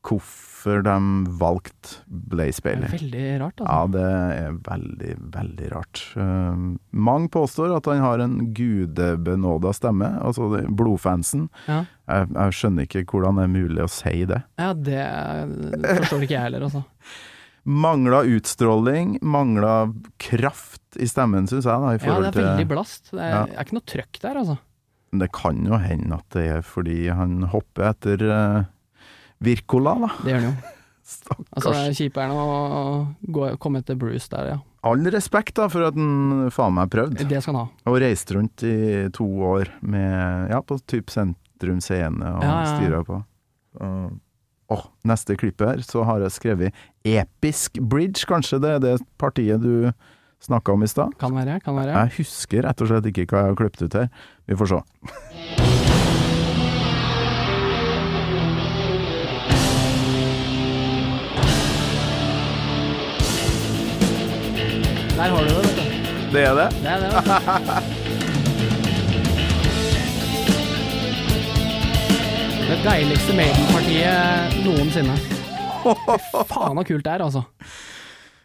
Speaker 3: hvorfor de valgte Blaze
Speaker 2: Det
Speaker 3: Bailey.
Speaker 2: er veldig rart, altså.
Speaker 3: Ja, det er veldig, veldig rart. Um, mange påstår at han har en gudebenåda stemme, altså det- blodfansen.
Speaker 2: Ja.
Speaker 3: Jeg, jeg skjønner ikke hvordan det er mulig å si det.
Speaker 2: Ja, det forstår ikke jeg heller, altså.
Speaker 3: Mangla utstråling, mangla kraft i stemmen, syns jeg. Da,
Speaker 2: Ja,
Speaker 3: i
Speaker 2: det
Speaker 3: forhold
Speaker 2: er veldig
Speaker 3: til,
Speaker 2: blast. Det er,
Speaker 3: Ja.
Speaker 2: det er ikke noe trøkk der, altså.
Speaker 3: det kan jo hende at det er fordi han hopper etter eh, Virkola, da.
Speaker 2: Det gjør den jo.
Speaker 3: Stakkars.
Speaker 2: Altså, det er kjiperne å gå, komme etter Bruce der, ja.
Speaker 3: All respekt da for at han faen meg prøvde,
Speaker 2: Det skal han ha.
Speaker 3: og reiste rundt i to år med, ja, på typ sentrum scene og
Speaker 2: Ja, ja, ja.
Speaker 3: styra på. Og- Åh, neste klippet her, så har jeg skrevet Episk Bridge, kanskje det er det partiet du snakka om i stad?
Speaker 2: Kan være, kan være.
Speaker 3: Jeg husker rett og slett ikke hva jeg har klippet ut her. Vi får se.
Speaker 2: Der har du det, vet du.
Speaker 3: Det er det?
Speaker 2: Det er det, vet du. Det deiligste Maiden-partiet noensinne. Fy Faen så kult det er, altså.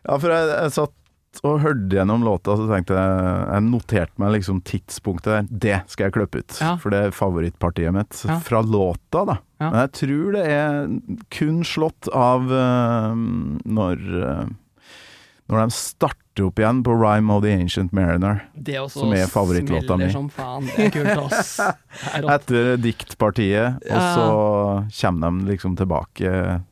Speaker 3: Ja, for jeg, jeg satt og hørte gjennom låta, så tenkte jeg Jeg noterte meg liksom tidspunktet der. Det skal jeg klippe ut,
Speaker 2: Ja.
Speaker 3: for det er favorittpartiet mitt.
Speaker 2: Ja.
Speaker 3: Fra låta, da.
Speaker 2: Ja.
Speaker 3: Men jeg tror det er kun slått av eh, når eh, Når de starter opp igjen på 'Rhyme of the Ancient Mariner'.
Speaker 2: Det også
Speaker 3: Som er favorittlåta mi.
Speaker 2: smeller som faen. Det er kult, ass. Det er rått.
Speaker 3: Etter diktpartiet, og
Speaker 2: Ja.
Speaker 3: så kommer de liksom tilbake.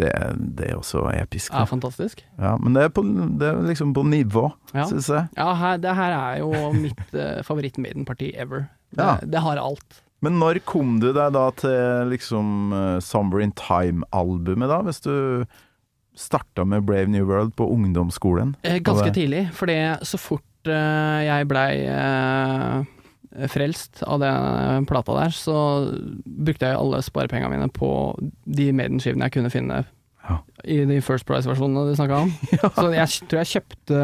Speaker 3: Det, er- det er også episk.
Speaker 2: Det
Speaker 3: da.
Speaker 2: er fantastisk.
Speaker 3: Ja, men det er, på, det er liksom på nivå,
Speaker 2: Ja.
Speaker 3: synes syns jeg.
Speaker 2: Ja, her, det her er jo mitt eh, favoritt-Maiden-parti ever. Det,
Speaker 3: Ja.
Speaker 2: det har alt.
Speaker 3: Men når kom du deg da til liksom eh, Summer in Time-albumet, da? Hvis du starta med Brave New World på ungdomsskolen?
Speaker 2: Eh, ganske
Speaker 3: Og det-
Speaker 2: tidlig, fordi så fort eh, jeg blei eh, frelst av den plata der, så brukte jeg jo alle sparepengene mine på de Maiden-skivene jeg kunne finne.
Speaker 3: Ja.
Speaker 2: I de First Price-versjonene du snakka om. Så jeg tror jeg kjøpte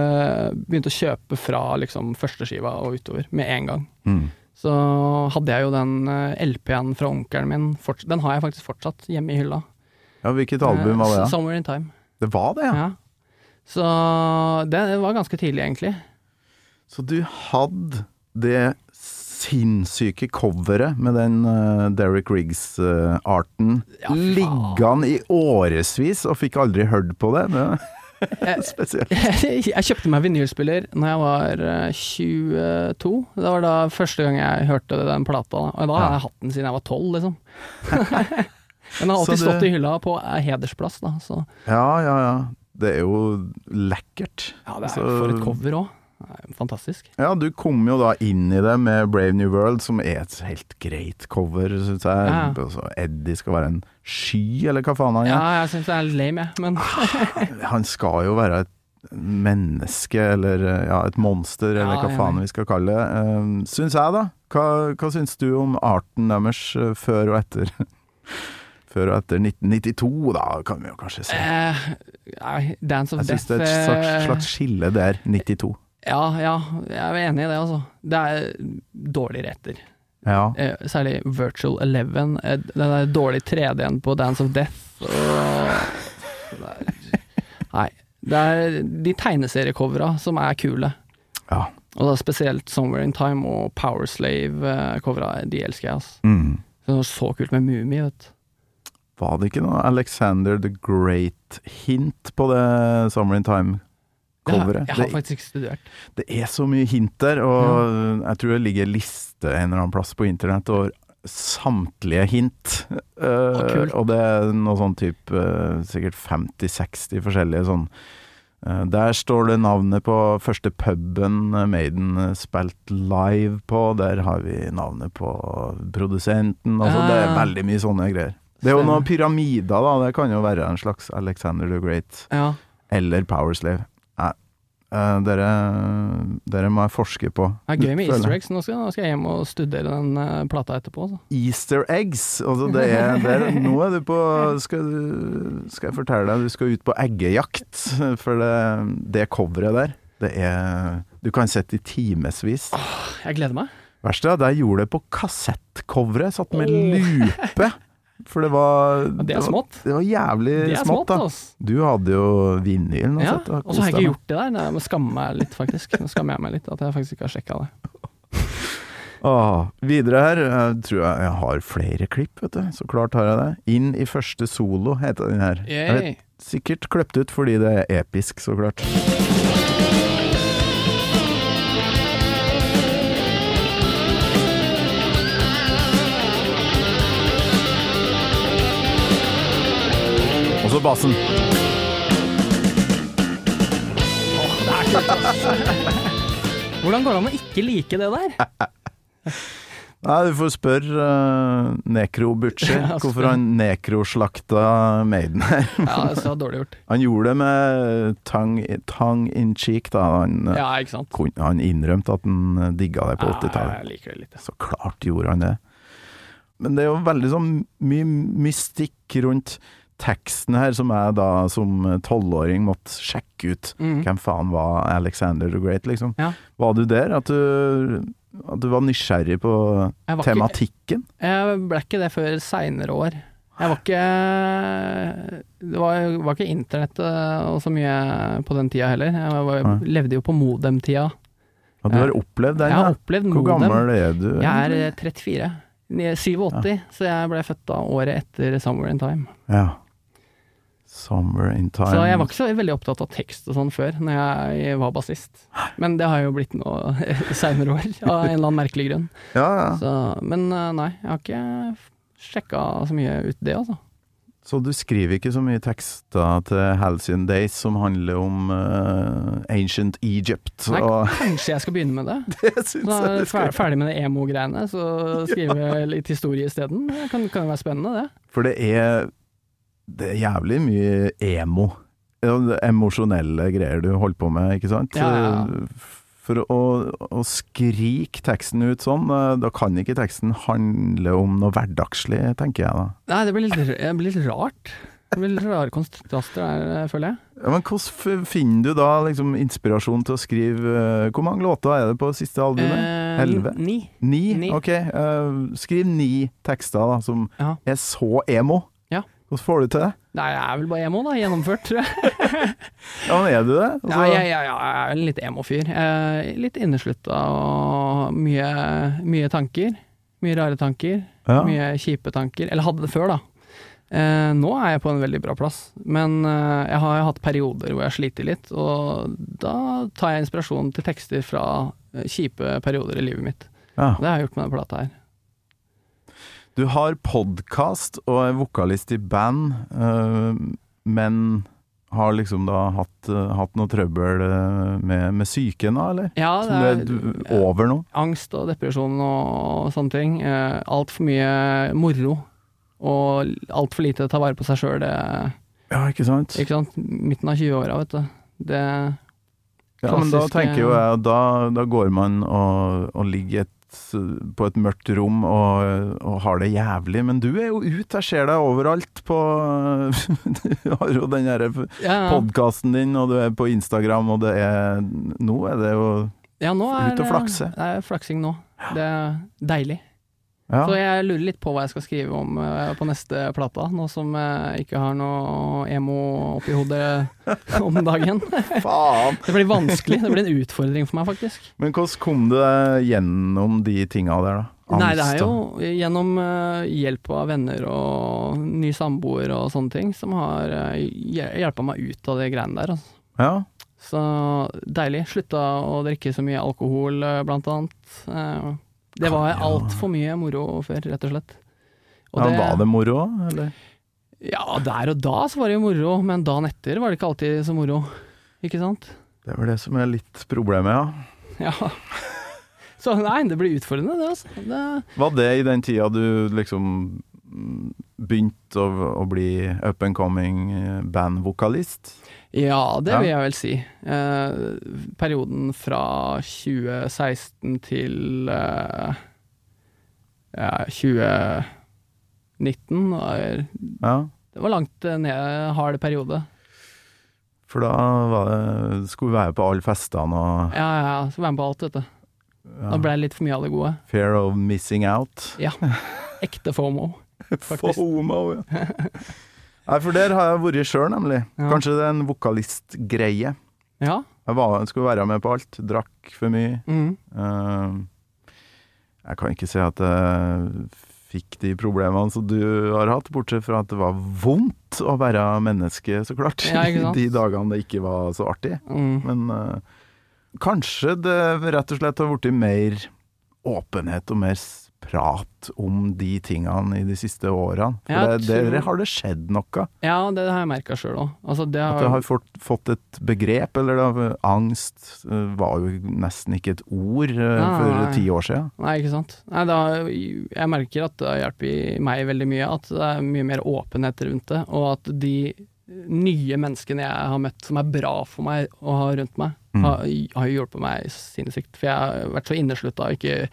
Speaker 2: begynte å kjøpe fra liksom førsteskiva og utover med en gang.
Speaker 3: Mm.
Speaker 2: Så hadde jeg jo den eh, LP-en fra onkelen min, forts- den har jeg faktisk fortsatt hjemme i hylla.
Speaker 3: Ja, hvilket album var det?
Speaker 2: Eh,
Speaker 3: da?
Speaker 2: Somewhere in Time.
Speaker 3: Det var det,
Speaker 2: Ja.
Speaker 3: ja.
Speaker 2: Så det var ganske tidlig, egentlig.
Speaker 3: Så du hadde det sinnssyke coveret med den eh, Derek Riggs-arten
Speaker 2: Ja, faen.
Speaker 3: liggende i årevis, og fikk aldri hørt på det. Men
Speaker 2: Eh,
Speaker 3: Spesielt.
Speaker 2: jeg kjøpte meg vinylspiller når jeg var eh, 22. Det var da første gang jeg hørte den plata. da. Og da har jeg hatt den siden jeg var 12, liksom. den har
Speaker 3: Så
Speaker 2: alltid stått
Speaker 3: du-
Speaker 2: i hylla på eh, hedersplass, da. Så
Speaker 3: Ja, ja, ja. Det er jo lekkert.
Speaker 2: ja, det er
Speaker 3: Så-
Speaker 2: for et cover òg. Fantastisk.
Speaker 3: Ja, du kom jo da inn i det med Brave New World, som er et helt greit cover, syns jeg.
Speaker 2: Ja.
Speaker 3: Og så Eddie skal være en sky, eller hva faen han
Speaker 2: Ja,
Speaker 3: er.
Speaker 2: jeg syns det er lame, jeg. Men
Speaker 3: Han skal jo være et menneske, eller ja, et monster,
Speaker 2: Ja,
Speaker 3: eller hva
Speaker 2: jeg er
Speaker 3: faen
Speaker 2: enig.
Speaker 3: vi skal kalle det. Um, syns jeg, da. Hva, hva syns du om arten deres eh, før og etter? Før og etter 1992, da, kan vi jo kanskje si.
Speaker 2: eh, nei, Dance of
Speaker 3: Jeg syns
Speaker 2: Death
Speaker 3: det er et slags,
Speaker 2: eh,
Speaker 3: slags skille der, 92.
Speaker 2: Ja, ja, jeg er enig i det, altså. Det er dårligere etter.
Speaker 3: Ja.
Speaker 2: Eh, særlig Virtual Eleven. Eh, den der dårlige 3D-en på Dance of Death. Og, nei. Det er de tegneseriecovera som er kule.
Speaker 3: ja.
Speaker 2: Og da spesielt Somewhere in Time og Powerslave-covera. De elsker jeg, altså.
Speaker 3: Mm.
Speaker 2: Det var så kult med Mummi, vet du.
Speaker 3: Var det ikke noe Alexander the Great-hint på det Summer in
Speaker 2: Det har,
Speaker 3: Time-coveret?
Speaker 2: jeg har
Speaker 3: Det,
Speaker 2: faktisk ikke studert.
Speaker 3: det er så mye hint der, og jeg tror det ligger en liste en eller annen plass på internett over samtlige hint. Eh,
Speaker 2: kult.
Speaker 3: og det er noe sånn type eh, sikkert 50-60 forskjellige sånn. Eh, der står det navnet på første puben Maiden eh, spilte live på, der har vi navnet på produsenten, altså det er
Speaker 2: Ah.
Speaker 3: veldig mye sånne greier. Det er jo
Speaker 2: Stemmer.
Speaker 3: noen pyramider, da. Det kan jo være en slags Alexander the Great
Speaker 2: Ja.
Speaker 3: eller Powerslave. Nei. Eh, dere, dere må jeg forske på.
Speaker 2: Det er gøy med
Speaker 3: Føler
Speaker 2: easter
Speaker 3: jeg.
Speaker 2: eggs. Nå skal, nå skal jeg hjem og studere den eh, plata etterpå. Så.
Speaker 3: Easter eggs! Altså det er, det er, nå er du på skal, du- skal jeg fortelle deg, du skal ut på eggejakt. For det, det coveret der, det er Du kan sitte i timevis.
Speaker 2: Jeg gleder meg.
Speaker 3: Verst er at jeg gjorde det på kassettcoveret. Satt med lupe. For det var
Speaker 2: Det er smått.
Speaker 3: Det var jævlig
Speaker 2: Det er smått,
Speaker 3: smått, da.
Speaker 2: altså.
Speaker 3: Du hadde jo vinylen.
Speaker 2: Ja,
Speaker 3: sett,
Speaker 2: og så har jeg
Speaker 3: kost deg
Speaker 2: ikke
Speaker 3: med.
Speaker 2: gjort det der. Nei, Jeg må skamme meg litt, faktisk. Nå skammer jeg meg litt at jeg faktisk ikke har sjekka det.
Speaker 3: Åh, videre her, jeg tror jeg, jeg har flere klipp, vet du. Så klart har jeg det. Inn i første solo heter den her. Jeg
Speaker 2: Yay.
Speaker 3: vet, sikkert kløpt ut fordi det er episk, så klart. Og så bassen.
Speaker 2: Hvordan går det an å ikke like det der?
Speaker 3: Nei, du får spørre uh, Nekro Butcher
Speaker 2: Ja, spør.
Speaker 3: hvorfor han nekroslakta Maiden her.
Speaker 2: Ja, det var dårlig gjort.
Speaker 3: Han gjorde det med tang, tang in cheek, da. Han, eh,
Speaker 2: Ja, Ah, ikke sant.
Speaker 3: kun- han innrømte at han eh, digga det på
Speaker 2: Ja,
Speaker 3: 80-tallet.
Speaker 2: jeg liker det litt. ja.
Speaker 3: Så klart gjorde han det. Men det er jo veldig sånn mye mystikk rundt teksten her, som jeg da som tolvåring måtte sjekke ut.
Speaker 2: Mm.
Speaker 3: Hvem faen var Alexander the Great, liksom?
Speaker 2: Ja.
Speaker 3: Var du der? At du, at du var nysgjerrig på
Speaker 2: Jeg var ikke-
Speaker 3: tematikken?
Speaker 2: Jeg ble ikke det før seinere år. Jeg var ikke Det var, var ikke internett eh, og så mye på den tida heller. Jeg var,
Speaker 3: Nei.
Speaker 2: levde jo på modem-tida.
Speaker 3: At du har opplevd den?
Speaker 2: Jeg har
Speaker 3: Ja.
Speaker 2: opplevd
Speaker 3: Hvor
Speaker 2: modem.
Speaker 3: gammel er du?
Speaker 2: Jeg er eh, 34. Ni- 87, så jeg ble født da året etter 'Somewhere in Time'.
Speaker 3: Ja. Summer in time.
Speaker 2: Så jeg var ikke så veldig opptatt av tekst og sånn før, når jeg var bassist. Men det har jo blitt nå seinere år, av en eller annen merkelig grunn.
Speaker 3: ja, ja.
Speaker 2: Så, men eh, nei, jeg har ikke sjekka så mye ut det, altså.
Speaker 3: Så du skriver ikke så mye tekster til Halcyon Days som handler om eh, Ancient Egypt
Speaker 2: Nei,
Speaker 3: og
Speaker 2: kanskje jeg skal begynne med det?
Speaker 3: Det
Speaker 2: Så
Speaker 3: syns
Speaker 2: da
Speaker 3: jeg
Speaker 2: er
Speaker 3: du
Speaker 2: jeg fer-
Speaker 3: skal
Speaker 2: ferdig med det emo-greiene, så skrive litt historie isteden. Det kan, kan jo være spennende, det.
Speaker 3: For det er, det er jævlig mye emo. Ja, det er Emosjonelle greier du holder på med, ikke sant?
Speaker 2: Ja, ja, ja.
Speaker 3: For å, å skrike teksten ut sånn, eh, da kan ikke teksten handle om noe hverdagslig, tenker jeg da.
Speaker 2: Nei, det blir litt, r- det blir litt rart. Det blir litt rare kontraster der, eh, føler jeg.
Speaker 3: Ja, men hvordan f- finner du da liksom, inspirasjon til å skrive eh, Hvor mange låter er det på siste albumet?
Speaker 2: Eh,
Speaker 3: Elleve?
Speaker 2: Ni.
Speaker 3: Ni?
Speaker 2: Ni.
Speaker 3: Ok, eh, skriv ni tekster da, som
Speaker 2: Ja.
Speaker 3: er så emo.
Speaker 2: Ja.
Speaker 3: Hvordan får du til det?
Speaker 2: Nei, jeg er vel bare emo, da. Gjennomført, tror jeg.
Speaker 3: Ja, men er du det? Altså,
Speaker 2: Ja, jeg, jeg, jeg er en litt emo-fyr. Eh, Litt inneslutta og mye, mye tanker. Mye rare tanker.
Speaker 3: ja.
Speaker 2: Mye kjipe tanker. Eller hadde det før, da. Eh, nå er jeg på en veldig bra plass, men eh, jeg har jo hatt perioder hvor jeg sliter litt, og da tar jeg inspirasjon til tekster fra eh, kjipe perioder i livet mitt.
Speaker 3: Ja.
Speaker 2: Det har jeg gjort med denne plata her.
Speaker 3: Du har podkast og er vokalist i band, eh, men har liksom da hatt, eh, hatt noe trøbbel eh, med, med psyken da, eller?
Speaker 2: Ja,
Speaker 3: Som
Speaker 2: det er
Speaker 3: det er du- over nå?
Speaker 2: angst og depresjon og sånne ting. Eh, Altfor mye moro, og altfor lite ta vare på seg sjøl.
Speaker 3: Ja, ikke sant?
Speaker 2: Ikke sant? Midten av 20-åra, vet du. Det
Speaker 3: Ja, men da
Speaker 2: klassiske-
Speaker 3: tenker jo jeg da, da går man og, og ligger et, på et mørkt rom og, og har det jævlig. Men du er jo ute, jeg ser deg overalt på Du har jo den derre
Speaker 2: ja, ja.
Speaker 3: podkasten din, og du er på Instagram, og det er Nå er det jo
Speaker 2: ja, nå er
Speaker 3: ut og flakse.
Speaker 2: Det er flaksing nå. Det er deilig. Så
Speaker 3: Ja,
Speaker 2: jeg lurer litt på hva jeg skal skrive om eh, på neste plata, nå som jeg ikke har noe emo oppi hodet om dagen.
Speaker 3: faen!
Speaker 2: Det blir vanskelig. Det blir en utfordring for meg, faktisk.
Speaker 3: Men hvordan kom du deg gjennom de tinga der, da?
Speaker 2: Nei, det er
Speaker 3: Angst og-
Speaker 2: jo gjennom eh, hjelp av venner og ny samboer og sånne ting, som har uh, hjelpa meg ut av de greiene der. Altså.
Speaker 3: Ja.
Speaker 2: Så deilig. Slutta å drikke så mye alkohol, eh, blant annet. Eh, det var altfor mye moro før, rett og slett. Og
Speaker 3: ja var det moro, eller?
Speaker 2: Ja, der og da så var det jo moro, men dagen etter var det ikke alltid så moro. Ikke sant?
Speaker 3: Det var det som er litt problemet, ja.
Speaker 2: Ja. Så nei, det blir utfordrende, det, altså. Det,
Speaker 3: Var det i den tida du liksom mm, begynte å, å bli up and coming eh, bandvokalist?
Speaker 2: Ja, det
Speaker 3: Ja.
Speaker 2: vil jeg vel si. Eh, perioden fra 2016 til eh, ja, 2019 var,
Speaker 3: Ja.
Speaker 2: Det var langt eh, ned, hard periode.
Speaker 3: For da var det, skulle vi være på alle festene og
Speaker 2: Ja, ja, ja. Skal være med på alt, vet du. Da
Speaker 3: ja.
Speaker 2: ble det litt for mye av det gode.
Speaker 3: Fear of missing out.
Speaker 2: Ja. Ekte FOMO. Faktisk.
Speaker 3: FOMO, ja. Nei, for der har jeg vært sjøl, nemlig.
Speaker 2: Ja.
Speaker 3: Kanskje det er en vokalistgreie.
Speaker 2: Ja.
Speaker 3: Jeg var, skulle være med på alt. Drakk for mye.
Speaker 2: Mm.
Speaker 3: Eh, jeg kan ikke si at jeg fikk de problemene som du har hatt, bortsett fra at det var vondt å være menneske, så klart.
Speaker 2: Ja, ikke sant?
Speaker 3: de dagene det ikke var så artig.
Speaker 2: Mm.
Speaker 3: Men eh, kanskje det rett og slett har blitt mer åpenhet og mer s- prat om de tingene i de siste årene. For
Speaker 2: Jeg
Speaker 3: det,
Speaker 2: tror-
Speaker 3: der har det skjedd noe.
Speaker 2: ja, det har jeg merka sjøl òg. Altså, det
Speaker 3: At
Speaker 2: har,
Speaker 3: det har fått, fått et begrep, eller da, angst eh, var jo nesten ikke et ord eh,
Speaker 2: Nei, nei.
Speaker 3: for ti år siden.
Speaker 2: Nei, ikke sant. Nei, det har, jeg merker at det hjelper meg veldig mye, at det er mye mer åpenhet rundt det, og at de nye menneskene jeg har møtt som er bra for meg å ha rundt meg, har, har jo hjulpet meg sinnssykt. For jeg har vært så inneslutta og ikke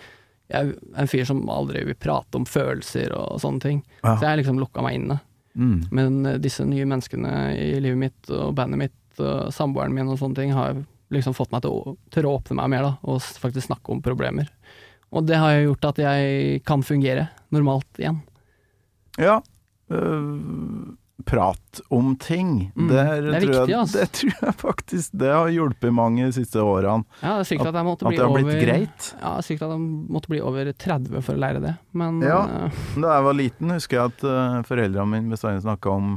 Speaker 2: Jeg er en fyr som aldri vil prate om følelser og sånne ting.
Speaker 3: Ja.
Speaker 2: Så jeg har liksom lukka meg inne.
Speaker 3: Mm.
Speaker 2: Men eh, disse nye menneskene i livet mitt og bandet mitt og samboeren min og sånne ting har liksom fått meg til å tørre å åpne meg mer da, og s- faktisk snakke om problemer. Og det har jo gjort at jeg kan fungere normalt igjen.
Speaker 3: Ja. øh, prat om ting.
Speaker 2: Mm,
Speaker 3: Der
Speaker 2: det er
Speaker 3: tror
Speaker 2: viktig,
Speaker 3: jeg,
Speaker 2: altså.
Speaker 3: Det tror jeg faktisk det har hjulpet mange de siste årene.
Speaker 2: Ja, det er sykt at, jeg måtte
Speaker 3: At
Speaker 2: bli
Speaker 3: det har blitt
Speaker 2: over,
Speaker 3: greit.
Speaker 2: Ja, det er sykt at jeg måtte bli over 30 for å lære det, men
Speaker 3: Ja.
Speaker 2: eh,
Speaker 3: Da jeg var liten, husker jeg at øh, foreldrene mine bestandig snakka om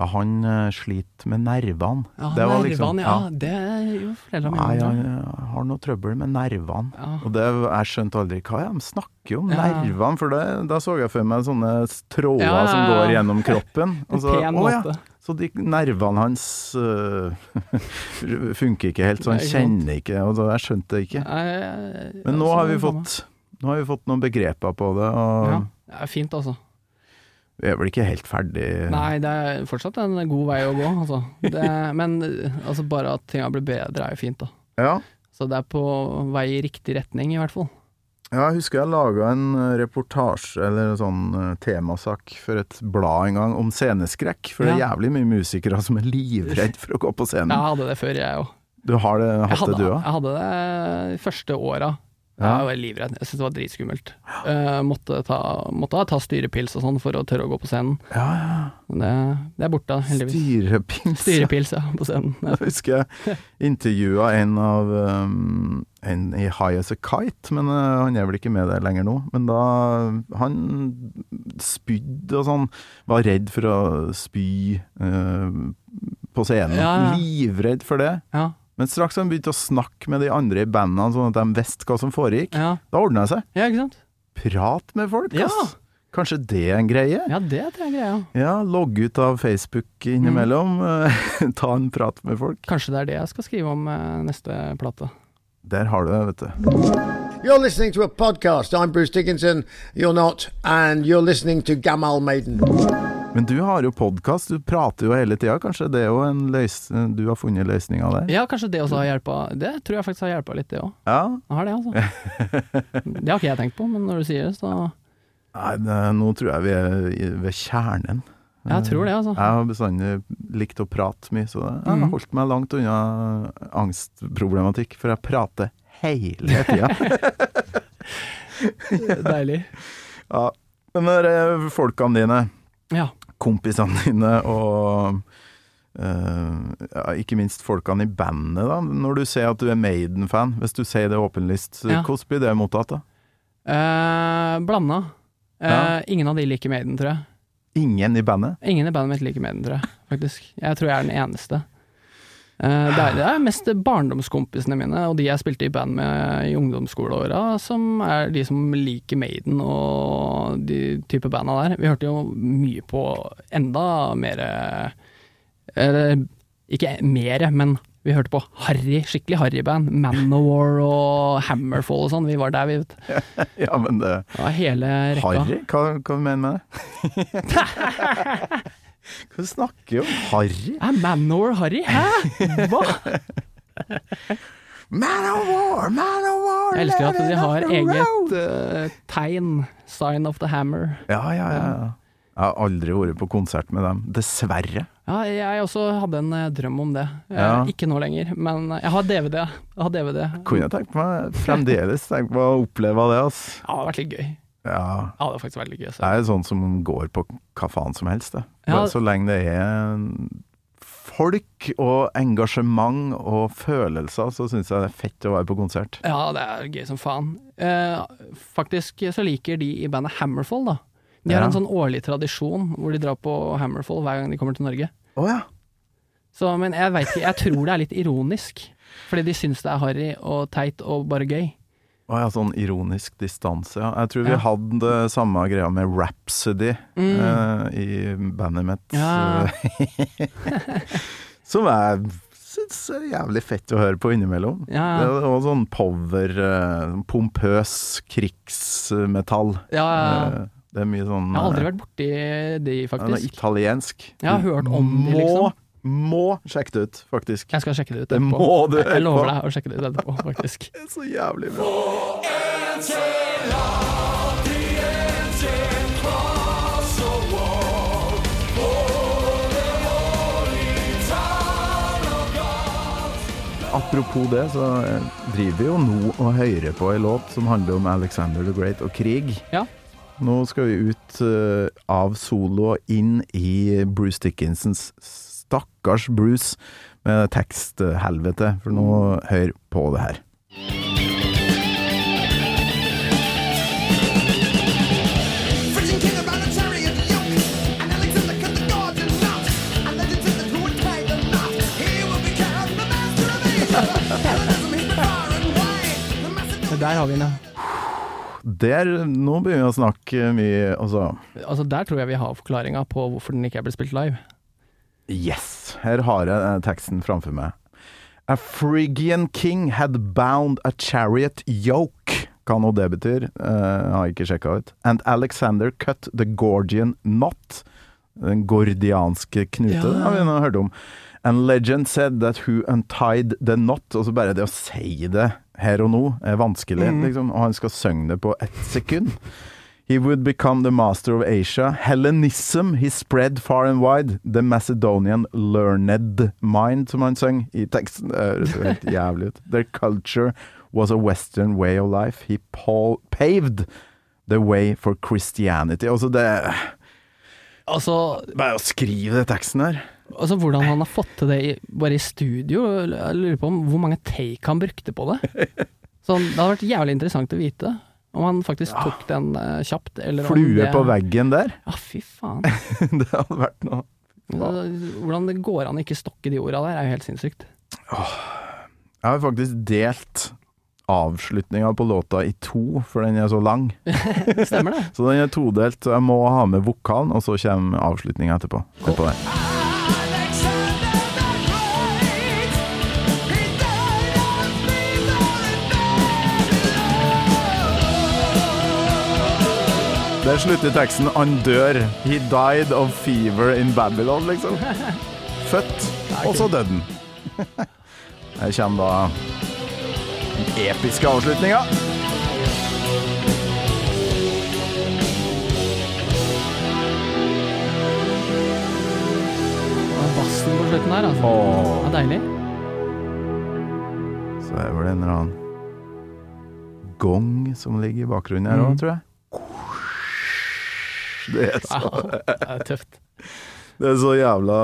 Speaker 3: ja, han øh, sliter med nervene.
Speaker 2: ja,
Speaker 3: Det var
Speaker 2: nervene,
Speaker 3: liksom-
Speaker 2: ja,
Speaker 3: ja.
Speaker 2: det er jo foreldrene
Speaker 3: Nei,
Speaker 2: mine.
Speaker 3: han øh, har noe trøbbel med nervene.
Speaker 2: Ja.
Speaker 3: Og det, jeg skjønte aldri hva er det de snakker om,
Speaker 2: Ja.
Speaker 3: nervene. For det, da så jeg for meg sånne tråder
Speaker 2: Ja, ja,
Speaker 3: som
Speaker 2: ja.
Speaker 3: går gjennom kroppen.
Speaker 2: En
Speaker 3: Og
Speaker 2: pen
Speaker 3: så, Altså, å, ja.
Speaker 2: måte.
Speaker 3: Så de nervene hans øh, funker ikke helt, så han
Speaker 2: Nei, ikke sant.
Speaker 3: kjenner ikke altså, Jeg skjønte det ikke.
Speaker 2: Nei,
Speaker 3: Men nå
Speaker 2: altså,
Speaker 3: har vi
Speaker 2: det er
Speaker 3: fått, nå har vi fått noen begreper på det,
Speaker 2: samme.
Speaker 3: og
Speaker 2: ja. Det er fint, altså.
Speaker 3: vi er vel ikke helt ferdig
Speaker 2: Nei, det er fortsatt en god vei å gå, altså. Det, men altså, bare at tinga blir bedre er jo fint, da.
Speaker 3: Ja,
Speaker 2: Så det er på vei i riktig retning, i hvert fall.
Speaker 3: ja, jeg husker jeg laga en eh, reportasje eller en sånn eh, temasak for et blad en gang om sceneskrekk, for det er
Speaker 2: Ja.
Speaker 3: jævlig mye musikere som er livredd for å gå på scenen.
Speaker 2: Jeg hadde det før, jeg òg.
Speaker 3: Mm. Du har det,
Speaker 2: Jeg,
Speaker 3: hatt det
Speaker 2: hadde-
Speaker 3: du òg?
Speaker 2: jeg hadde det de første åra. Jeg var livredd. Jeg syntes det var dritskummelt. Eh, måtte, ta, måtte ta styrepils og sånn for å tørre å gå på scenen.
Speaker 3: Ja, ja.
Speaker 2: Men det, det er borte, heldigvis.
Speaker 3: Styrepins.
Speaker 2: Styrepils, ja, på scenen. Ja.
Speaker 3: Jeg husker jeg intervjua en av um, en i High As A Kite, men uh, han er vel ikke med der lenger nå. Men da Han spydde og sånn. Var redd for å spy uh, på scenen.
Speaker 2: Ja, ja.
Speaker 3: Livredd for det.
Speaker 2: Ja,
Speaker 3: Men straks han begynte å snakke med de andre i bandene, sånn at de visste hva som foregikk,
Speaker 2: ja.
Speaker 3: da ordna det seg.
Speaker 2: ja, ikke sant?
Speaker 3: Prat med folk,
Speaker 2: Ja.
Speaker 3: ass. Kanskje det er en greie?
Speaker 2: Ja, det tror jeg er greia.
Speaker 3: Ja, logg ut av Facebook innimellom.
Speaker 2: Mm.
Speaker 3: Ta en prat med folk.
Speaker 2: Kanskje det er det jeg skal skrive om eh, neste plate.
Speaker 3: Der har du det, vet du.
Speaker 7: You're listening to a podcast. I'm Bruce Dickinson. You're not, and you're listening to Gamal Maiden.
Speaker 3: Men du har jo podkast, du prater jo hele tida. Kanskje det er jo en løs... du har funnet løsninga der?
Speaker 2: Ja, kanskje det også har hjulpa. Det tror jeg faktisk har hjulpa litt, det òg.
Speaker 3: Ja.
Speaker 2: Har det, altså. Det har ikke jeg tenkt på, men når du sier det, så
Speaker 3: Nei, det, nå tror jeg vi er i- ved kjernen.
Speaker 2: Jeg tror det, altså.
Speaker 3: Jeg har bestandig likt å prate mye, så jeg
Speaker 2: Mm.
Speaker 3: har holdt meg langt unna angstproblematikk, for jeg prater hele tida.
Speaker 2: Deilig.
Speaker 3: ja. Men det er folkene dine.
Speaker 2: Ja.
Speaker 3: kompisene dine og eh, ja, ikke minst folkene i bandet, da. Når du ser at du er Maiden-fan, hvis du sier det åpenlyst,
Speaker 2: Ja.
Speaker 3: hvordan blir det mottatt da?
Speaker 2: Eh, blanda. Eh,
Speaker 3: Ja.
Speaker 2: Ingen av de liker Maiden, tror jeg.
Speaker 3: Ingen i bandet?
Speaker 2: Ingen i bandet mitt liker Maiden, tror jeg. Faktisk. Jeg tror jeg er den eneste. Eh, det, er, det er mest barndomskompisene mine og de jeg spilte i band med i ungdomsskoleåra, som er de som liker Maiden og de type banda der. Vi hørte jo mye på enda mer eh, Eller ikke mere, men vi hørte på harry, skikkelig harryband. Manowar og Hammerfall og sånn. Vi var der, vi, vet du.
Speaker 3: Ja, men det
Speaker 2: Ja, hele rekka.
Speaker 3: Harry? Hva, hva mener du med det? Hva snakker du om? Harry?
Speaker 2: Er Manowar harry? Hæ? Hva?
Speaker 3: Man of war, man of war!
Speaker 2: Jeg elsker at
Speaker 3: let
Speaker 2: de
Speaker 3: it off
Speaker 2: har
Speaker 3: the
Speaker 2: eget
Speaker 3: road.
Speaker 2: eh, tegn. Sign of the hammer.
Speaker 3: Ja, ja, ja. ja. Jeg har aldri vært på konsert med dem, dessverre.
Speaker 2: Ja, jeg også hadde en eh, drøm om det. Eh,
Speaker 3: Ja.
Speaker 2: Ikke nå lenger, men eh, jeg har DVD. Jeg har DVD. Det
Speaker 3: Kunne jeg tenkt meg fremdeles tenkt meg å oppleve det, altså.
Speaker 2: hadde vært litt gøy.
Speaker 3: Ja,
Speaker 2: Ja, det hadde faktisk vært litt gøy. Så.
Speaker 3: Det er jo sånn som går på hva faen som helst, det.
Speaker 2: Ja.
Speaker 3: Bare Så lenge det er folk og engasjement og følelser, så syns jeg det er fett å være på konsert.
Speaker 2: Ja, det er gøy som faen. Eh, faktisk så liker de i bandet Hammerfall, da. De har
Speaker 3: Ja.
Speaker 2: en sånn årlig tradisjon hvor de drar på Hammerfall hver gang de kommer til Norge.
Speaker 3: Å ja.
Speaker 2: Så, men jeg vet ikke, jeg tror det er litt ironisk. Fordi de syns det er harry og teit og bare gøy.
Speaker 3: Å ja, sånn ironisk distanse, ja. Jeg tror vi
Speaker 2: Ja. Mm.
Speaker 3: hadde det samme greia med Rhapsody eh, i bandet mitt.
Speaker 2: Ja.
Speaker 3: som jeg syns er jævlig fett å høre på innimellom.
Speaker 2: Ja,
Speaker 3: Det
Speaker 2: ja.
Speaker 3: var sånn power, eh, pompøs krigsmetall.
Speaker 2: Ja, ja.
Speaker 3: Eh, Det er mye sånn
Speaker 2: Jeg har aldri
Speaker 3: eh,
Speaker 2: vært borti de,
Speaker 3: ja, det er
Speaker 2: faktisk.
Speaker 3: italiensk.
Speaker 2: Jeg har hørt om
Speaker 3: må,
Speaker 2: de, liksom.
Speaker 3: Må sjekke det ut, faktisk.
Speaker 2: Jeg skal sjekke det ut
Speaker 3: Det
Speaker 2: etterpå.
Speaker 3: må du
Speaker 2: Jeg
Speaker 3: høre på.
Speaker 2: lover deg å sjekke det ut etterpå, faktisk.
Speaker 3: Det er så jævlig bra. Apropos det, så eh, driver vi jo nå og hører på en låt som handler om Alexander the Great og krig.
Speaker 2: Ja.
Speaker 3: Nå skal vi ut eh, av solo og inn i Bruce Dickinsons stakkars Bruce med teksthelvete, for nå hør på det her.
Speaker 6: Friction king around a chariot yoke, and Alexander cut the gods in knots. And legend says that who would tie the knot, he would be crowned the master of Asia. Hellenism hit the far and wide. The
Speaker 2: Men
Speaker 6: Macedonian
Speaker 2: Der har vi den, ja.
Speaker 3: Der, nå begynner vi å snakke mye, altså.
Speaker 2: Altså, der tror jeg vi har forklaringa på hvorfor den ikke er blitt spilt live.
Speaker 3: Yes! Her har jeg eh, teksten framfor meg. A Phrygian king had bound a chariot yoke. Hva nå det betyr, eh, har jeg ikke sjekka ut. And Alexander cut the Gordian knot. Den gordianske knute,
Speaker 2: Ja.
Speaker 3: det har vi nå hørt om. And legend said that who untied the knot. Og så bare det å si det her og nå er vanskelig, liksom. Og han skal synge det på ett sekund. He would become the master of Asia. Hellenism he spread far and wide. The Macedonian learned mind, som han sang i teksten. Det høres jo helt jævlig ut. Their culture was a western way of life. He pa- paved the way for Christianity. Altså, det
Speaker 2: Altså,
Speaker 3: Bare å skrive den teksten her.
Speaker 2: altså hvordan han har fått til det i, bare i studio, jeg lurer på om hvor mange take han brukte på det. Sånn, det hadde vært jævlig interessant å vite om han faktisk tok den eh, kjapt, eller om
Speaker 3: Ah. Flue
Speaker 2: det
Speaker 3: på veggen der.
Speaker 2: Ja, fy faen.
Speaker 3: det hadde vært noe.
Speaker 2: Det- Hvordan det går an å ikke stokke de orda der, er jo helt sinnssykt.
Speaker 3: Jeg har faktisk delt avslutninga på låta i to, for den er så lang.
Speaker 2: Stemmer det?
Speaker 3: Så den er todelt, så jeg må ha med vokalen, og så kommer avslutninga etterpå. Hør på det. Der slutter teksten 'Han dør'. He died of fever in Babylon, liksom. Født, og så døde han. Her kommer da den episke avslutninga.
Speaker 2: Og Bassen på slutten her, altså.
Speaker 3: Åh.
Speaker 2: Det er deilig.
Speaker 3: Så er det vel en eller annen gong som ligger i bakgrunnen her òg,
Speaker 2: Mhm.
Speaker 3: tror jeg. Det er, så,
Speaker 2: Au, Ah, det er tøft.
Speaker 3: det er så jævla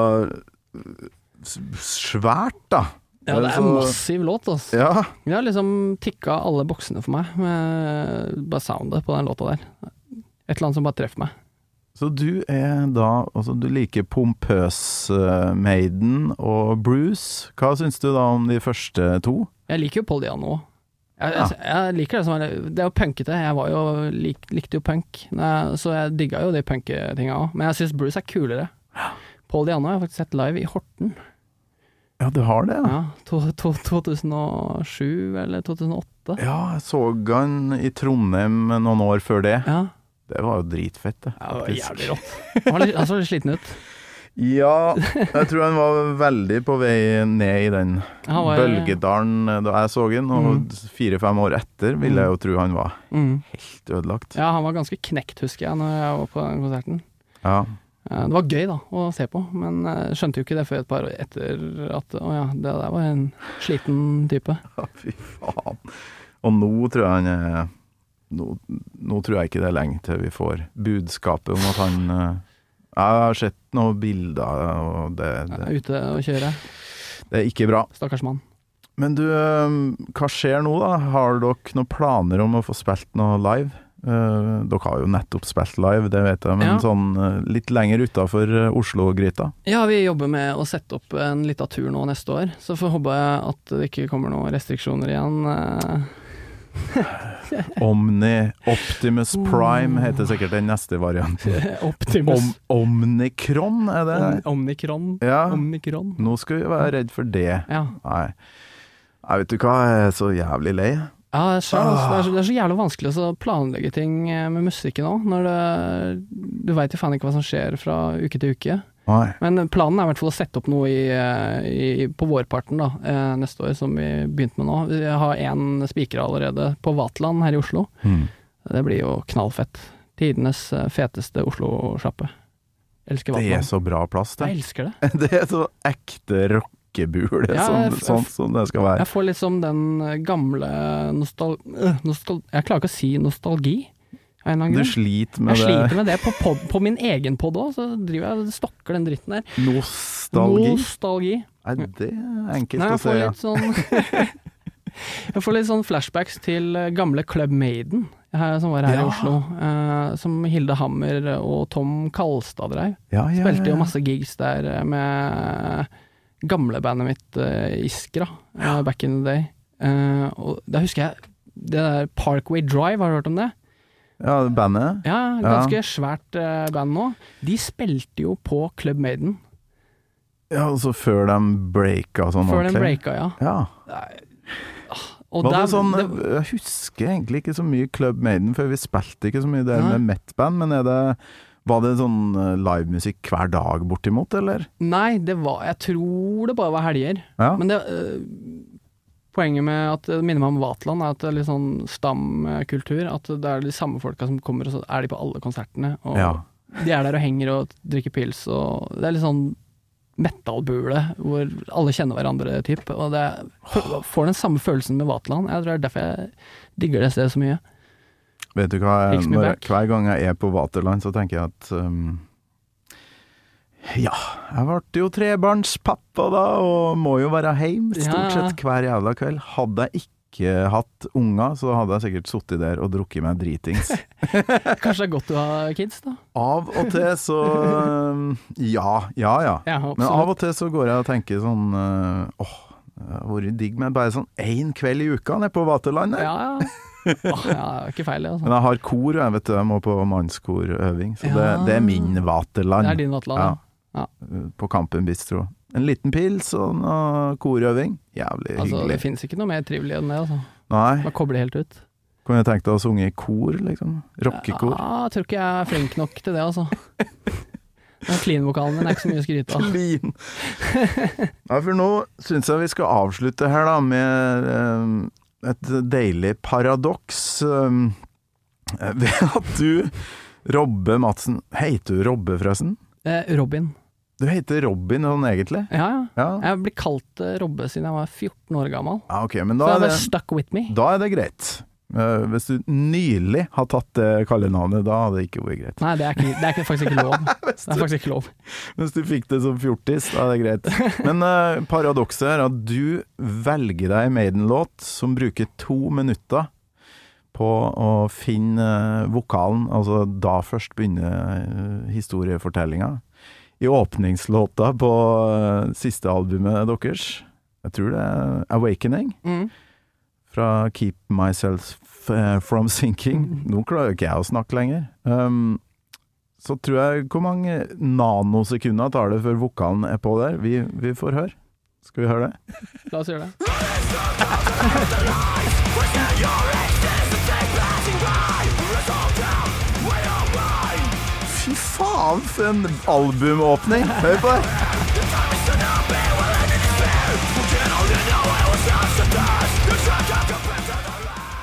Speaker 3: s- svært, da.
Speaker 2: Ja, det er en
Speaker 3: så-
Speaker 2: massiv låt, altså.
Speaker 3: Ja,
Speaker 2: Det har liksom tikka alle boksene for meg, med bare soundet på den låta der. Et eller annet som bare treffer meg.
Speaker 3: Så du er da Altså, du liker pompøs eh, Maiden og Bruce. Hva syns du da om de første to?
Speaker 2: Jeg liker jo Paul Diano òg. Jeg, jeg, jeg liker det som er Det er jo punkete. Jeg var jo, lik, likte jo punk, Nei, så jeg digga jo de punketinga òg. Men jeg syns Bruce er kulere. Paul Diano har jeg faktisk sett live i Horten.
Speaker 3: Ja, du har det, ja.
Speaker 2: Ja, to, to, 2007 eller 2008.
Speaker 3: Ja, jeg så han i Trondheim noen år før det.
Speaker 2: Ja,
Speaker 3: Det var jo dritfett, det.
Speaker 2: ja det var
Speaker 3: faktisk.
Speaker 2: jævlig rått. Han, var litt, han så litt sliten ut.
Speaker 3: Ja, jeg tror han var veldig på vei ned i den
Speaker 2: Han var,
Speaker 3: bølgedalen eh, da jeg så han, og fire-fem år etter vil jeg jo tro han var
Speaker 2: Mm.
Speaker 3: helt ødelagt.
Speaker 2: Ja, han var ganske knekt, husker jeg, når jeg var på den konserten.
Speaker 3: Ja.
Speaker 2: Eh, Det var gøy da, å se på, men eh, skjønte jo ikke det før et par år etter at å ja, det der var en sliten type. eh,
Speaker 3: Ja, fy faen. Og nå tror jeg han er nå, nå tror jeg ikke det er lenge til vi får budskapet om at han eh, Jeg har sett noen bilder, og det, det,
Speaker 2: Er Ute og kjøre.
Speaker 3: det er ikke bra.
Speaker 2: Stakkars mann.
Speaker 3: Men du, eh, hva skjer nå, da? Har dere noen planer om å få spilt noe live? Eh, dere har jo nettopp spilt live, det vet jeg, men
Speaker 2: Ja.
Speaker 3: sånn eh, litt lenger utafor eh, Oslo-gryta?
Speaker 2: Ja, vi jobber med å sette opp en liten tur nå neste år, så får håpe at det ikke kommer noen restriksjoner igjen. eh.
Speaker 3: Omni Optimus Prime heter sikkert den neste varianten.
Speaker 2: eh,
Speaker 3: Om,
Speaker 2: Optimus.
Speaker 3: Omnikron, er det?
Speaker 2: Om, omnikron.
Speaker 3: Ja.
Speaker 2: Omnikron.
Speaker 3: Nå skal vi være redd for det.
Speaker 2: Ja.
Speaker 3: Nei. Jeg vet du hva, jeg er så jævlig lei.
Speaker 2: Ja, jeg skjønner,
Speaker 3: Ah.
Speaker 2: altså, det, er så, det er så jævlig vanskelig å planlegge ting eh, med musikken òg, når det, du veit jo faen ikke hva som skjer fra uke til uke.
Speaker 3: Nei.
Speaker 2: Men planen er i hvert fall å sette opp noe i, eh, i, på vårparten da, eh, neste år, som vi begynte med nå. Vi har én spikra allerede på Vatland her i Oslo.
Speaker 3: Mm.
Speaker 2: Det blir jo knallfett. Tidenes eh, feteste Oslo-sjappe. Elsker
Speaker 3: Det er
Speaker 2: Vatland.
Speaker 3: så bra plass, det.
Speaker 2: Jeg elsker det.
Speaker 3: Det er så ekte rockebule,
Speaker 2: Ja,
Speaker 3: sånn,
Speaker 2: jeg f-
Speaker 3: sånn som det skal være.
Speaker 2: Jeg får liksom den eh, gamle nostal... øh, nostal jeg klarer ikke å si nostalgi. av en eller annen
Speaker 3: Du
Speaker 2: grunn.
Speaker 3: sliter
Speaker 2: Jeg
Speaker 3: med det.
Speaker 2: sliter med det på, pod, på min egen pod òg, så driver jeg og stokker den dritten der.
Speaker 3: Nostalgi.
Speaker 2: Nostalgi.
Speaker 3: Nei, det er enkelt
Speaker 2: Nei, jeg
Speaker 3: å si,
Speaker 2: får
Speaker 3: ja.
Speaker 2: litt sånn Jeg får litt sånn flashbacks til eh, gamle Club Maiden, her, som var her
Speaker 3: Ja.
Speaker 2: i Oslo. eh, som Hilde Hammer og Tom Kalstad dreiv.
Speaker 3: ja, ja, ja.
Speaker 2: Spilte jo masse gigs der eh, med gamlebandet mitt eh, Iskra, eh, back in the day. Eh, og da husker jeg det der Parkway Drive, har du hørt om det?
Speaker 3: Ja, bandet.
Speaker 2: Ja, ganske svært eh, band nå. De spilte jo på Club Maiden,
Speaker 3: Ja, og så før de breaka sånn
Speaker 2: før den
Speaker 3: ordentlig.
Speaker 2: breaka, ja.
Speaker 3: Ja.
Speaker 2: Og
Speaker 3: Var det
Speaker 2: der-
Speaker 3: sånn,
Speaker 2: det-
Speaker 3: jeg husker egentlig ikke så mye Club Maiden, for vi spilte ikke så mye der
Speaker 2: Nei.
Speaker 3: med Met-band, men er det, var det sånn eh, livemusikk hver dag bortimot, eller?
Speaker 2: Nei, det var Jeg tror det bare var helger.
Speaker 3: Ja.
Speaker 2: Men det øh, poenget med at det minner meg om Vatland, er at det er litt sånn stamkultur. At det er de samme folka som kommer, og så er de på alle konsertene. Og
Speaker 3: Ja.
Speaker 2: de er der og henger og drikker pils og Det er litt sånn metallbule hvor alle kjenner hverandre, typ. Og det er, f- får den samme følelsen med Vatland. Jeg tror det er derfor jeg digger det stedet så mye.
Speaker 3: Vet du hva,
Speaker 2: Takes me
Speaker 3: når,
Speaker 2: back.
Speaker 3: hver gang jeg er på Vaterland, så tenker jeg at um, Ja, jeg ble jo trebarnspappa da, og må jo være heim stort
Speaker 2: Ja, ja.
Speaker 3: sett hver jævla kveld. Hadde jeg ikke hatt unger, så hadde jeg sikkert sittet der og drukket meg dritings.
Speaker 2: Kanskje det er godt du har kids, da.
Speaker 3: Av og til så um, Ja, ja, ja.
Speaker 2: Ja,
Speaker 3: Men
Speaker 2: absolutt.
Speaker 3: av og til så går jeg og tenker sånn uh, Åh, det hadde vært digg med bare sånn én kveld i uka nede på Vaterland. der.
Speaker 2: Ja, ja. Åh, ja, det er ikke feil, det.
Speaker 3: Men
Speaker 2: Altså.
Speaker 3: jeg har kor, og jeg vet du, jeg må på mannskorøving, så det,
Speaker 2: Ja.
Speaker 3: det er min
Speaker 2: Det
Speaker 3: vaterland
Speaker 2: er din Vatland.
Speaker 3: Ja.
Speaker 2: da.
Speaker 3: på Kampen Bistro. En liten pils og noe korøving. Jævlig
Speaker 2: Altså, det
Speaker 3: hyggelig.
Speaker 2: fins ikke noe mer trivelig enn det. Altså.
Speaker 3: Nei,
Speaker 2: Man kobler helt ut.
Speaker 3: kunne jeg tenkt deg å synge i kor, liksom? Rockekor?
Speaker 2: Ja, jeg tror ikke jeg er flink nok til det, altså. Den Clean-vokalen min er ikke så mye å skryte av.
Speaker 3: Lin. Nei, for nå syns jeg vi skal avslutte her, da, med eh, et deilig paradoks. eh, ved at du, Robbe Madsen Heter du Robbe, forresten?
Speaker 2: Eh, Robin.
Speaker 3: Du heter Robin sånn egentlig?
Speaker 2: Ja, ja.
Speaker 3: Ja,
Speaker 2: Jeg ble kalt eh, Robbe siden jeg var 14 år gammel.
Speaker 3: ja ok,
Speaker 2: Så
Speaker 3: men da
Speaker 2: jeg
Speaker 3: er det
Speaker 2: bare stuck with me.
Speaker 3: Da er det greit. Eh, hvis du nylig har tatt det kallenavnet, da hadde det ikke vært greit.
Speaker 2: Nei, det er, ikke, det er ikke, faktisk ikke lov. Det er faktisk ikke lov.
Speaker 3: Hvis du fikk det som fjortis, da er det greit. Men eh, paradokset er at du velger deg en Maiden-låt som bruker to minutter på å finne eh, vokalen, altså da først begynner uh, historiefortellinga. I åpningslåta på eh, siste albumet deres, jeg tror det er 'Awakening',
Speaker 2: Mm.
Speaker 3: fra Keep Myself eh, From Sinking. Nå klarer jo ikke jeg å snakke lenger. Um, så tror jeg Hvor mange nanosekunder tar det før vokalen er på der? Vi, vi får høre. Skal vi høre det?
Speaker 2: La oss gjøre det.
Speaker 3: Fy faen, for en albumåpning! Hør på det!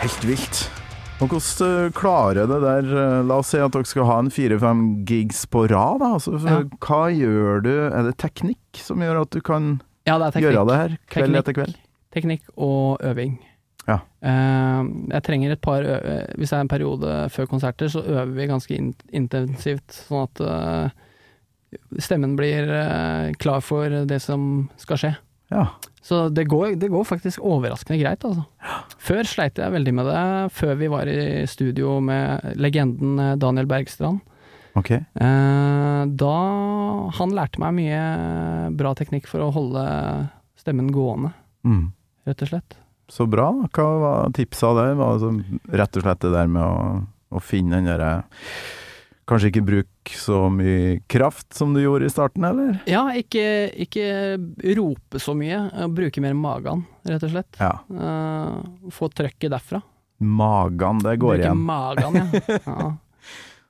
Speaker 3: Helt vilt. Og hvordan eh, klarer det der eh, La oss si at dere skal ha en fire-fem gigs på rad. Da. Altså,
Speaker 2: Ja.
Speaker 3: Hva gjør du Er det teknikk som gjør at du kan
Speaker 2: Ja, det er teknikk.
Speaker 3: gjøre det her kveld
Speaker 2: Teknikk.
Speaker 3: etter kveld?
Speaker 2: Teknikk og øving.
Speaker 3: Ja.
Speaker 2: Eh, jeg trenger et par ø eh, Hvis det er en periode før konserter, så øver vi ganske in intensivt, sånn at eh, stemmen blir eh, klar for det som skal skje.
Speaker 3: Ja.
Speaker 2: Så det går, det går faktisk overraskende greit, altså. Før sleit jeg veldig med det, før vi var i studio med legenden eh, Daniel Bergstrand.
Speaker 3: Ok.
Speaker 2: Eh, da Han lærte meg mye bra teknikk for å holde stemmen gående,
Speaker 3: Mm.
Speaker 2: rett og slett.
Speaker 3: Så bra. da. Hva var tipsa der? Var altså rett og slett det der med å, å finne den derre Kanskje ikke bruke så mye kraft som du gjorde i starten, eller?
Speaker 2: Ja, ikke, ikke rope så mye, eh, bruke mer magen, rett og slett.
Speaker 3: Ja.
Speaker 2: Eh, få trøkket derfra.
Speaker 3: Magen, det går
Speaker 2: bruke
Speaker 3: igjen.
Speaker 2: magen, ja. ja.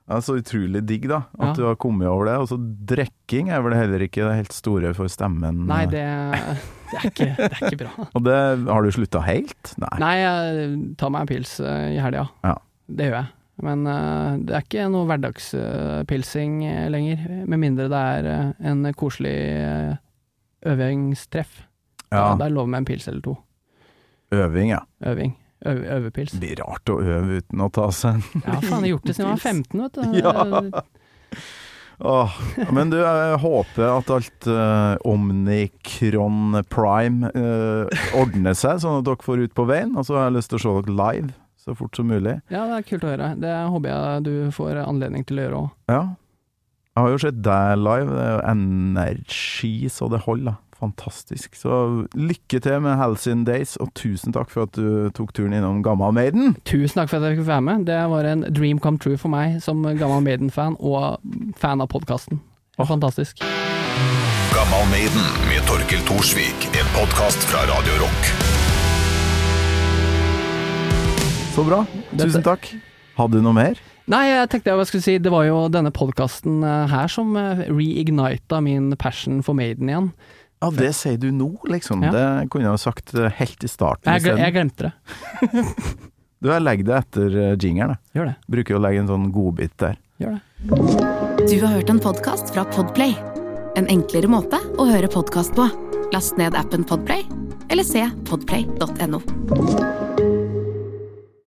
Speaker 3: Det er så utrolig digg, da.
Speaker 2: Ja.
Speaker 3: At du har kommet over det. Og så drikking er vel heller ikke det helt store for stemmen.
Speaker 2: Nei, det, det, er ikke, det er ikke bra.
Speaker 3: Og det har du slutta helt? Nei.
Speaker 2: Nei, jeg tar meg en pils eh, i helga.
Speaker 3: Ja.
Speaker 2: Det gjør jeg. Men eh, det er ikke noe hverdagspilsing eh, lenger, med mindre det er eh, en koselig eh, øvingstreff.
Speaker 3: Ja,
Speaker 2: Da er det lov med en pils eller to.
Speaker 3: Øving, ja.
Speaker 2: Øving. Øv, øvepils.
Speaker 3: Det blir rart å øve uten å ta seg en
Speaker 2: Jeg har faen gjort det siden jeg var 15, vet du.
Speaker 3: Ja.
Speaker 2: Eh,
Speaker 3: Åh, men du, jeg håper at alt eh, Omnicron Prime eh, ordner seg, sånn at dere får ut på veien. Og så har jeg lyst til å se dere live så fort som mulig.
Speaker 2: Ja, det er kult å høre. Det håper jeg du får anledning til å gjøre òg.
Speaker 3: Ja. Jeg har jo sett deg live. Det er jo energi så det holder. da. Fantastisk. Så lykke til med Halcyon Days, og tusen takk for at du tok turen innom Gamma Maiden.
Speaker 2: Tusen takk for at jeg fikk være med. Det var en dream come true for meg som gammel Maiden-fan, og fan av podkasten. Fantastisk.
Speaker 4: Gammal Maiden med Torkel Thorsvik. En podkast fra Radio Rock.
Speaker 3: Så bra. Tusen takk. Hadde du noe mer?
Speaker 2: Nei, jeg tenkte jeg hva jeg skulle si, det eh, var jo denne podkasten her som eh, reignita min passion for Maiden igjen.
Speaker 3: Ja, det sier du nå, liksom.
Speaker 2: Ja.
Speaker 3: Det kunne jeg jo sagt eh, helt i starten
Speaker 2: Jeg, gle- jeg
Speaker 3: isteden.
Speaker 2: glemte det.
Speaker 3: Du, jeg legger det etter eh, jingeren, jeg.
Speaker 2: Gjør det.
Speaker 3: Bruker jo å legge en sånn godbit der.
Speaker 2: Gjør det.
Speaker 1: Du har hørt en podcast fra Podplay. En enklere måte å høre podcast på. Last ned appen Podplay, eller se podplay.no.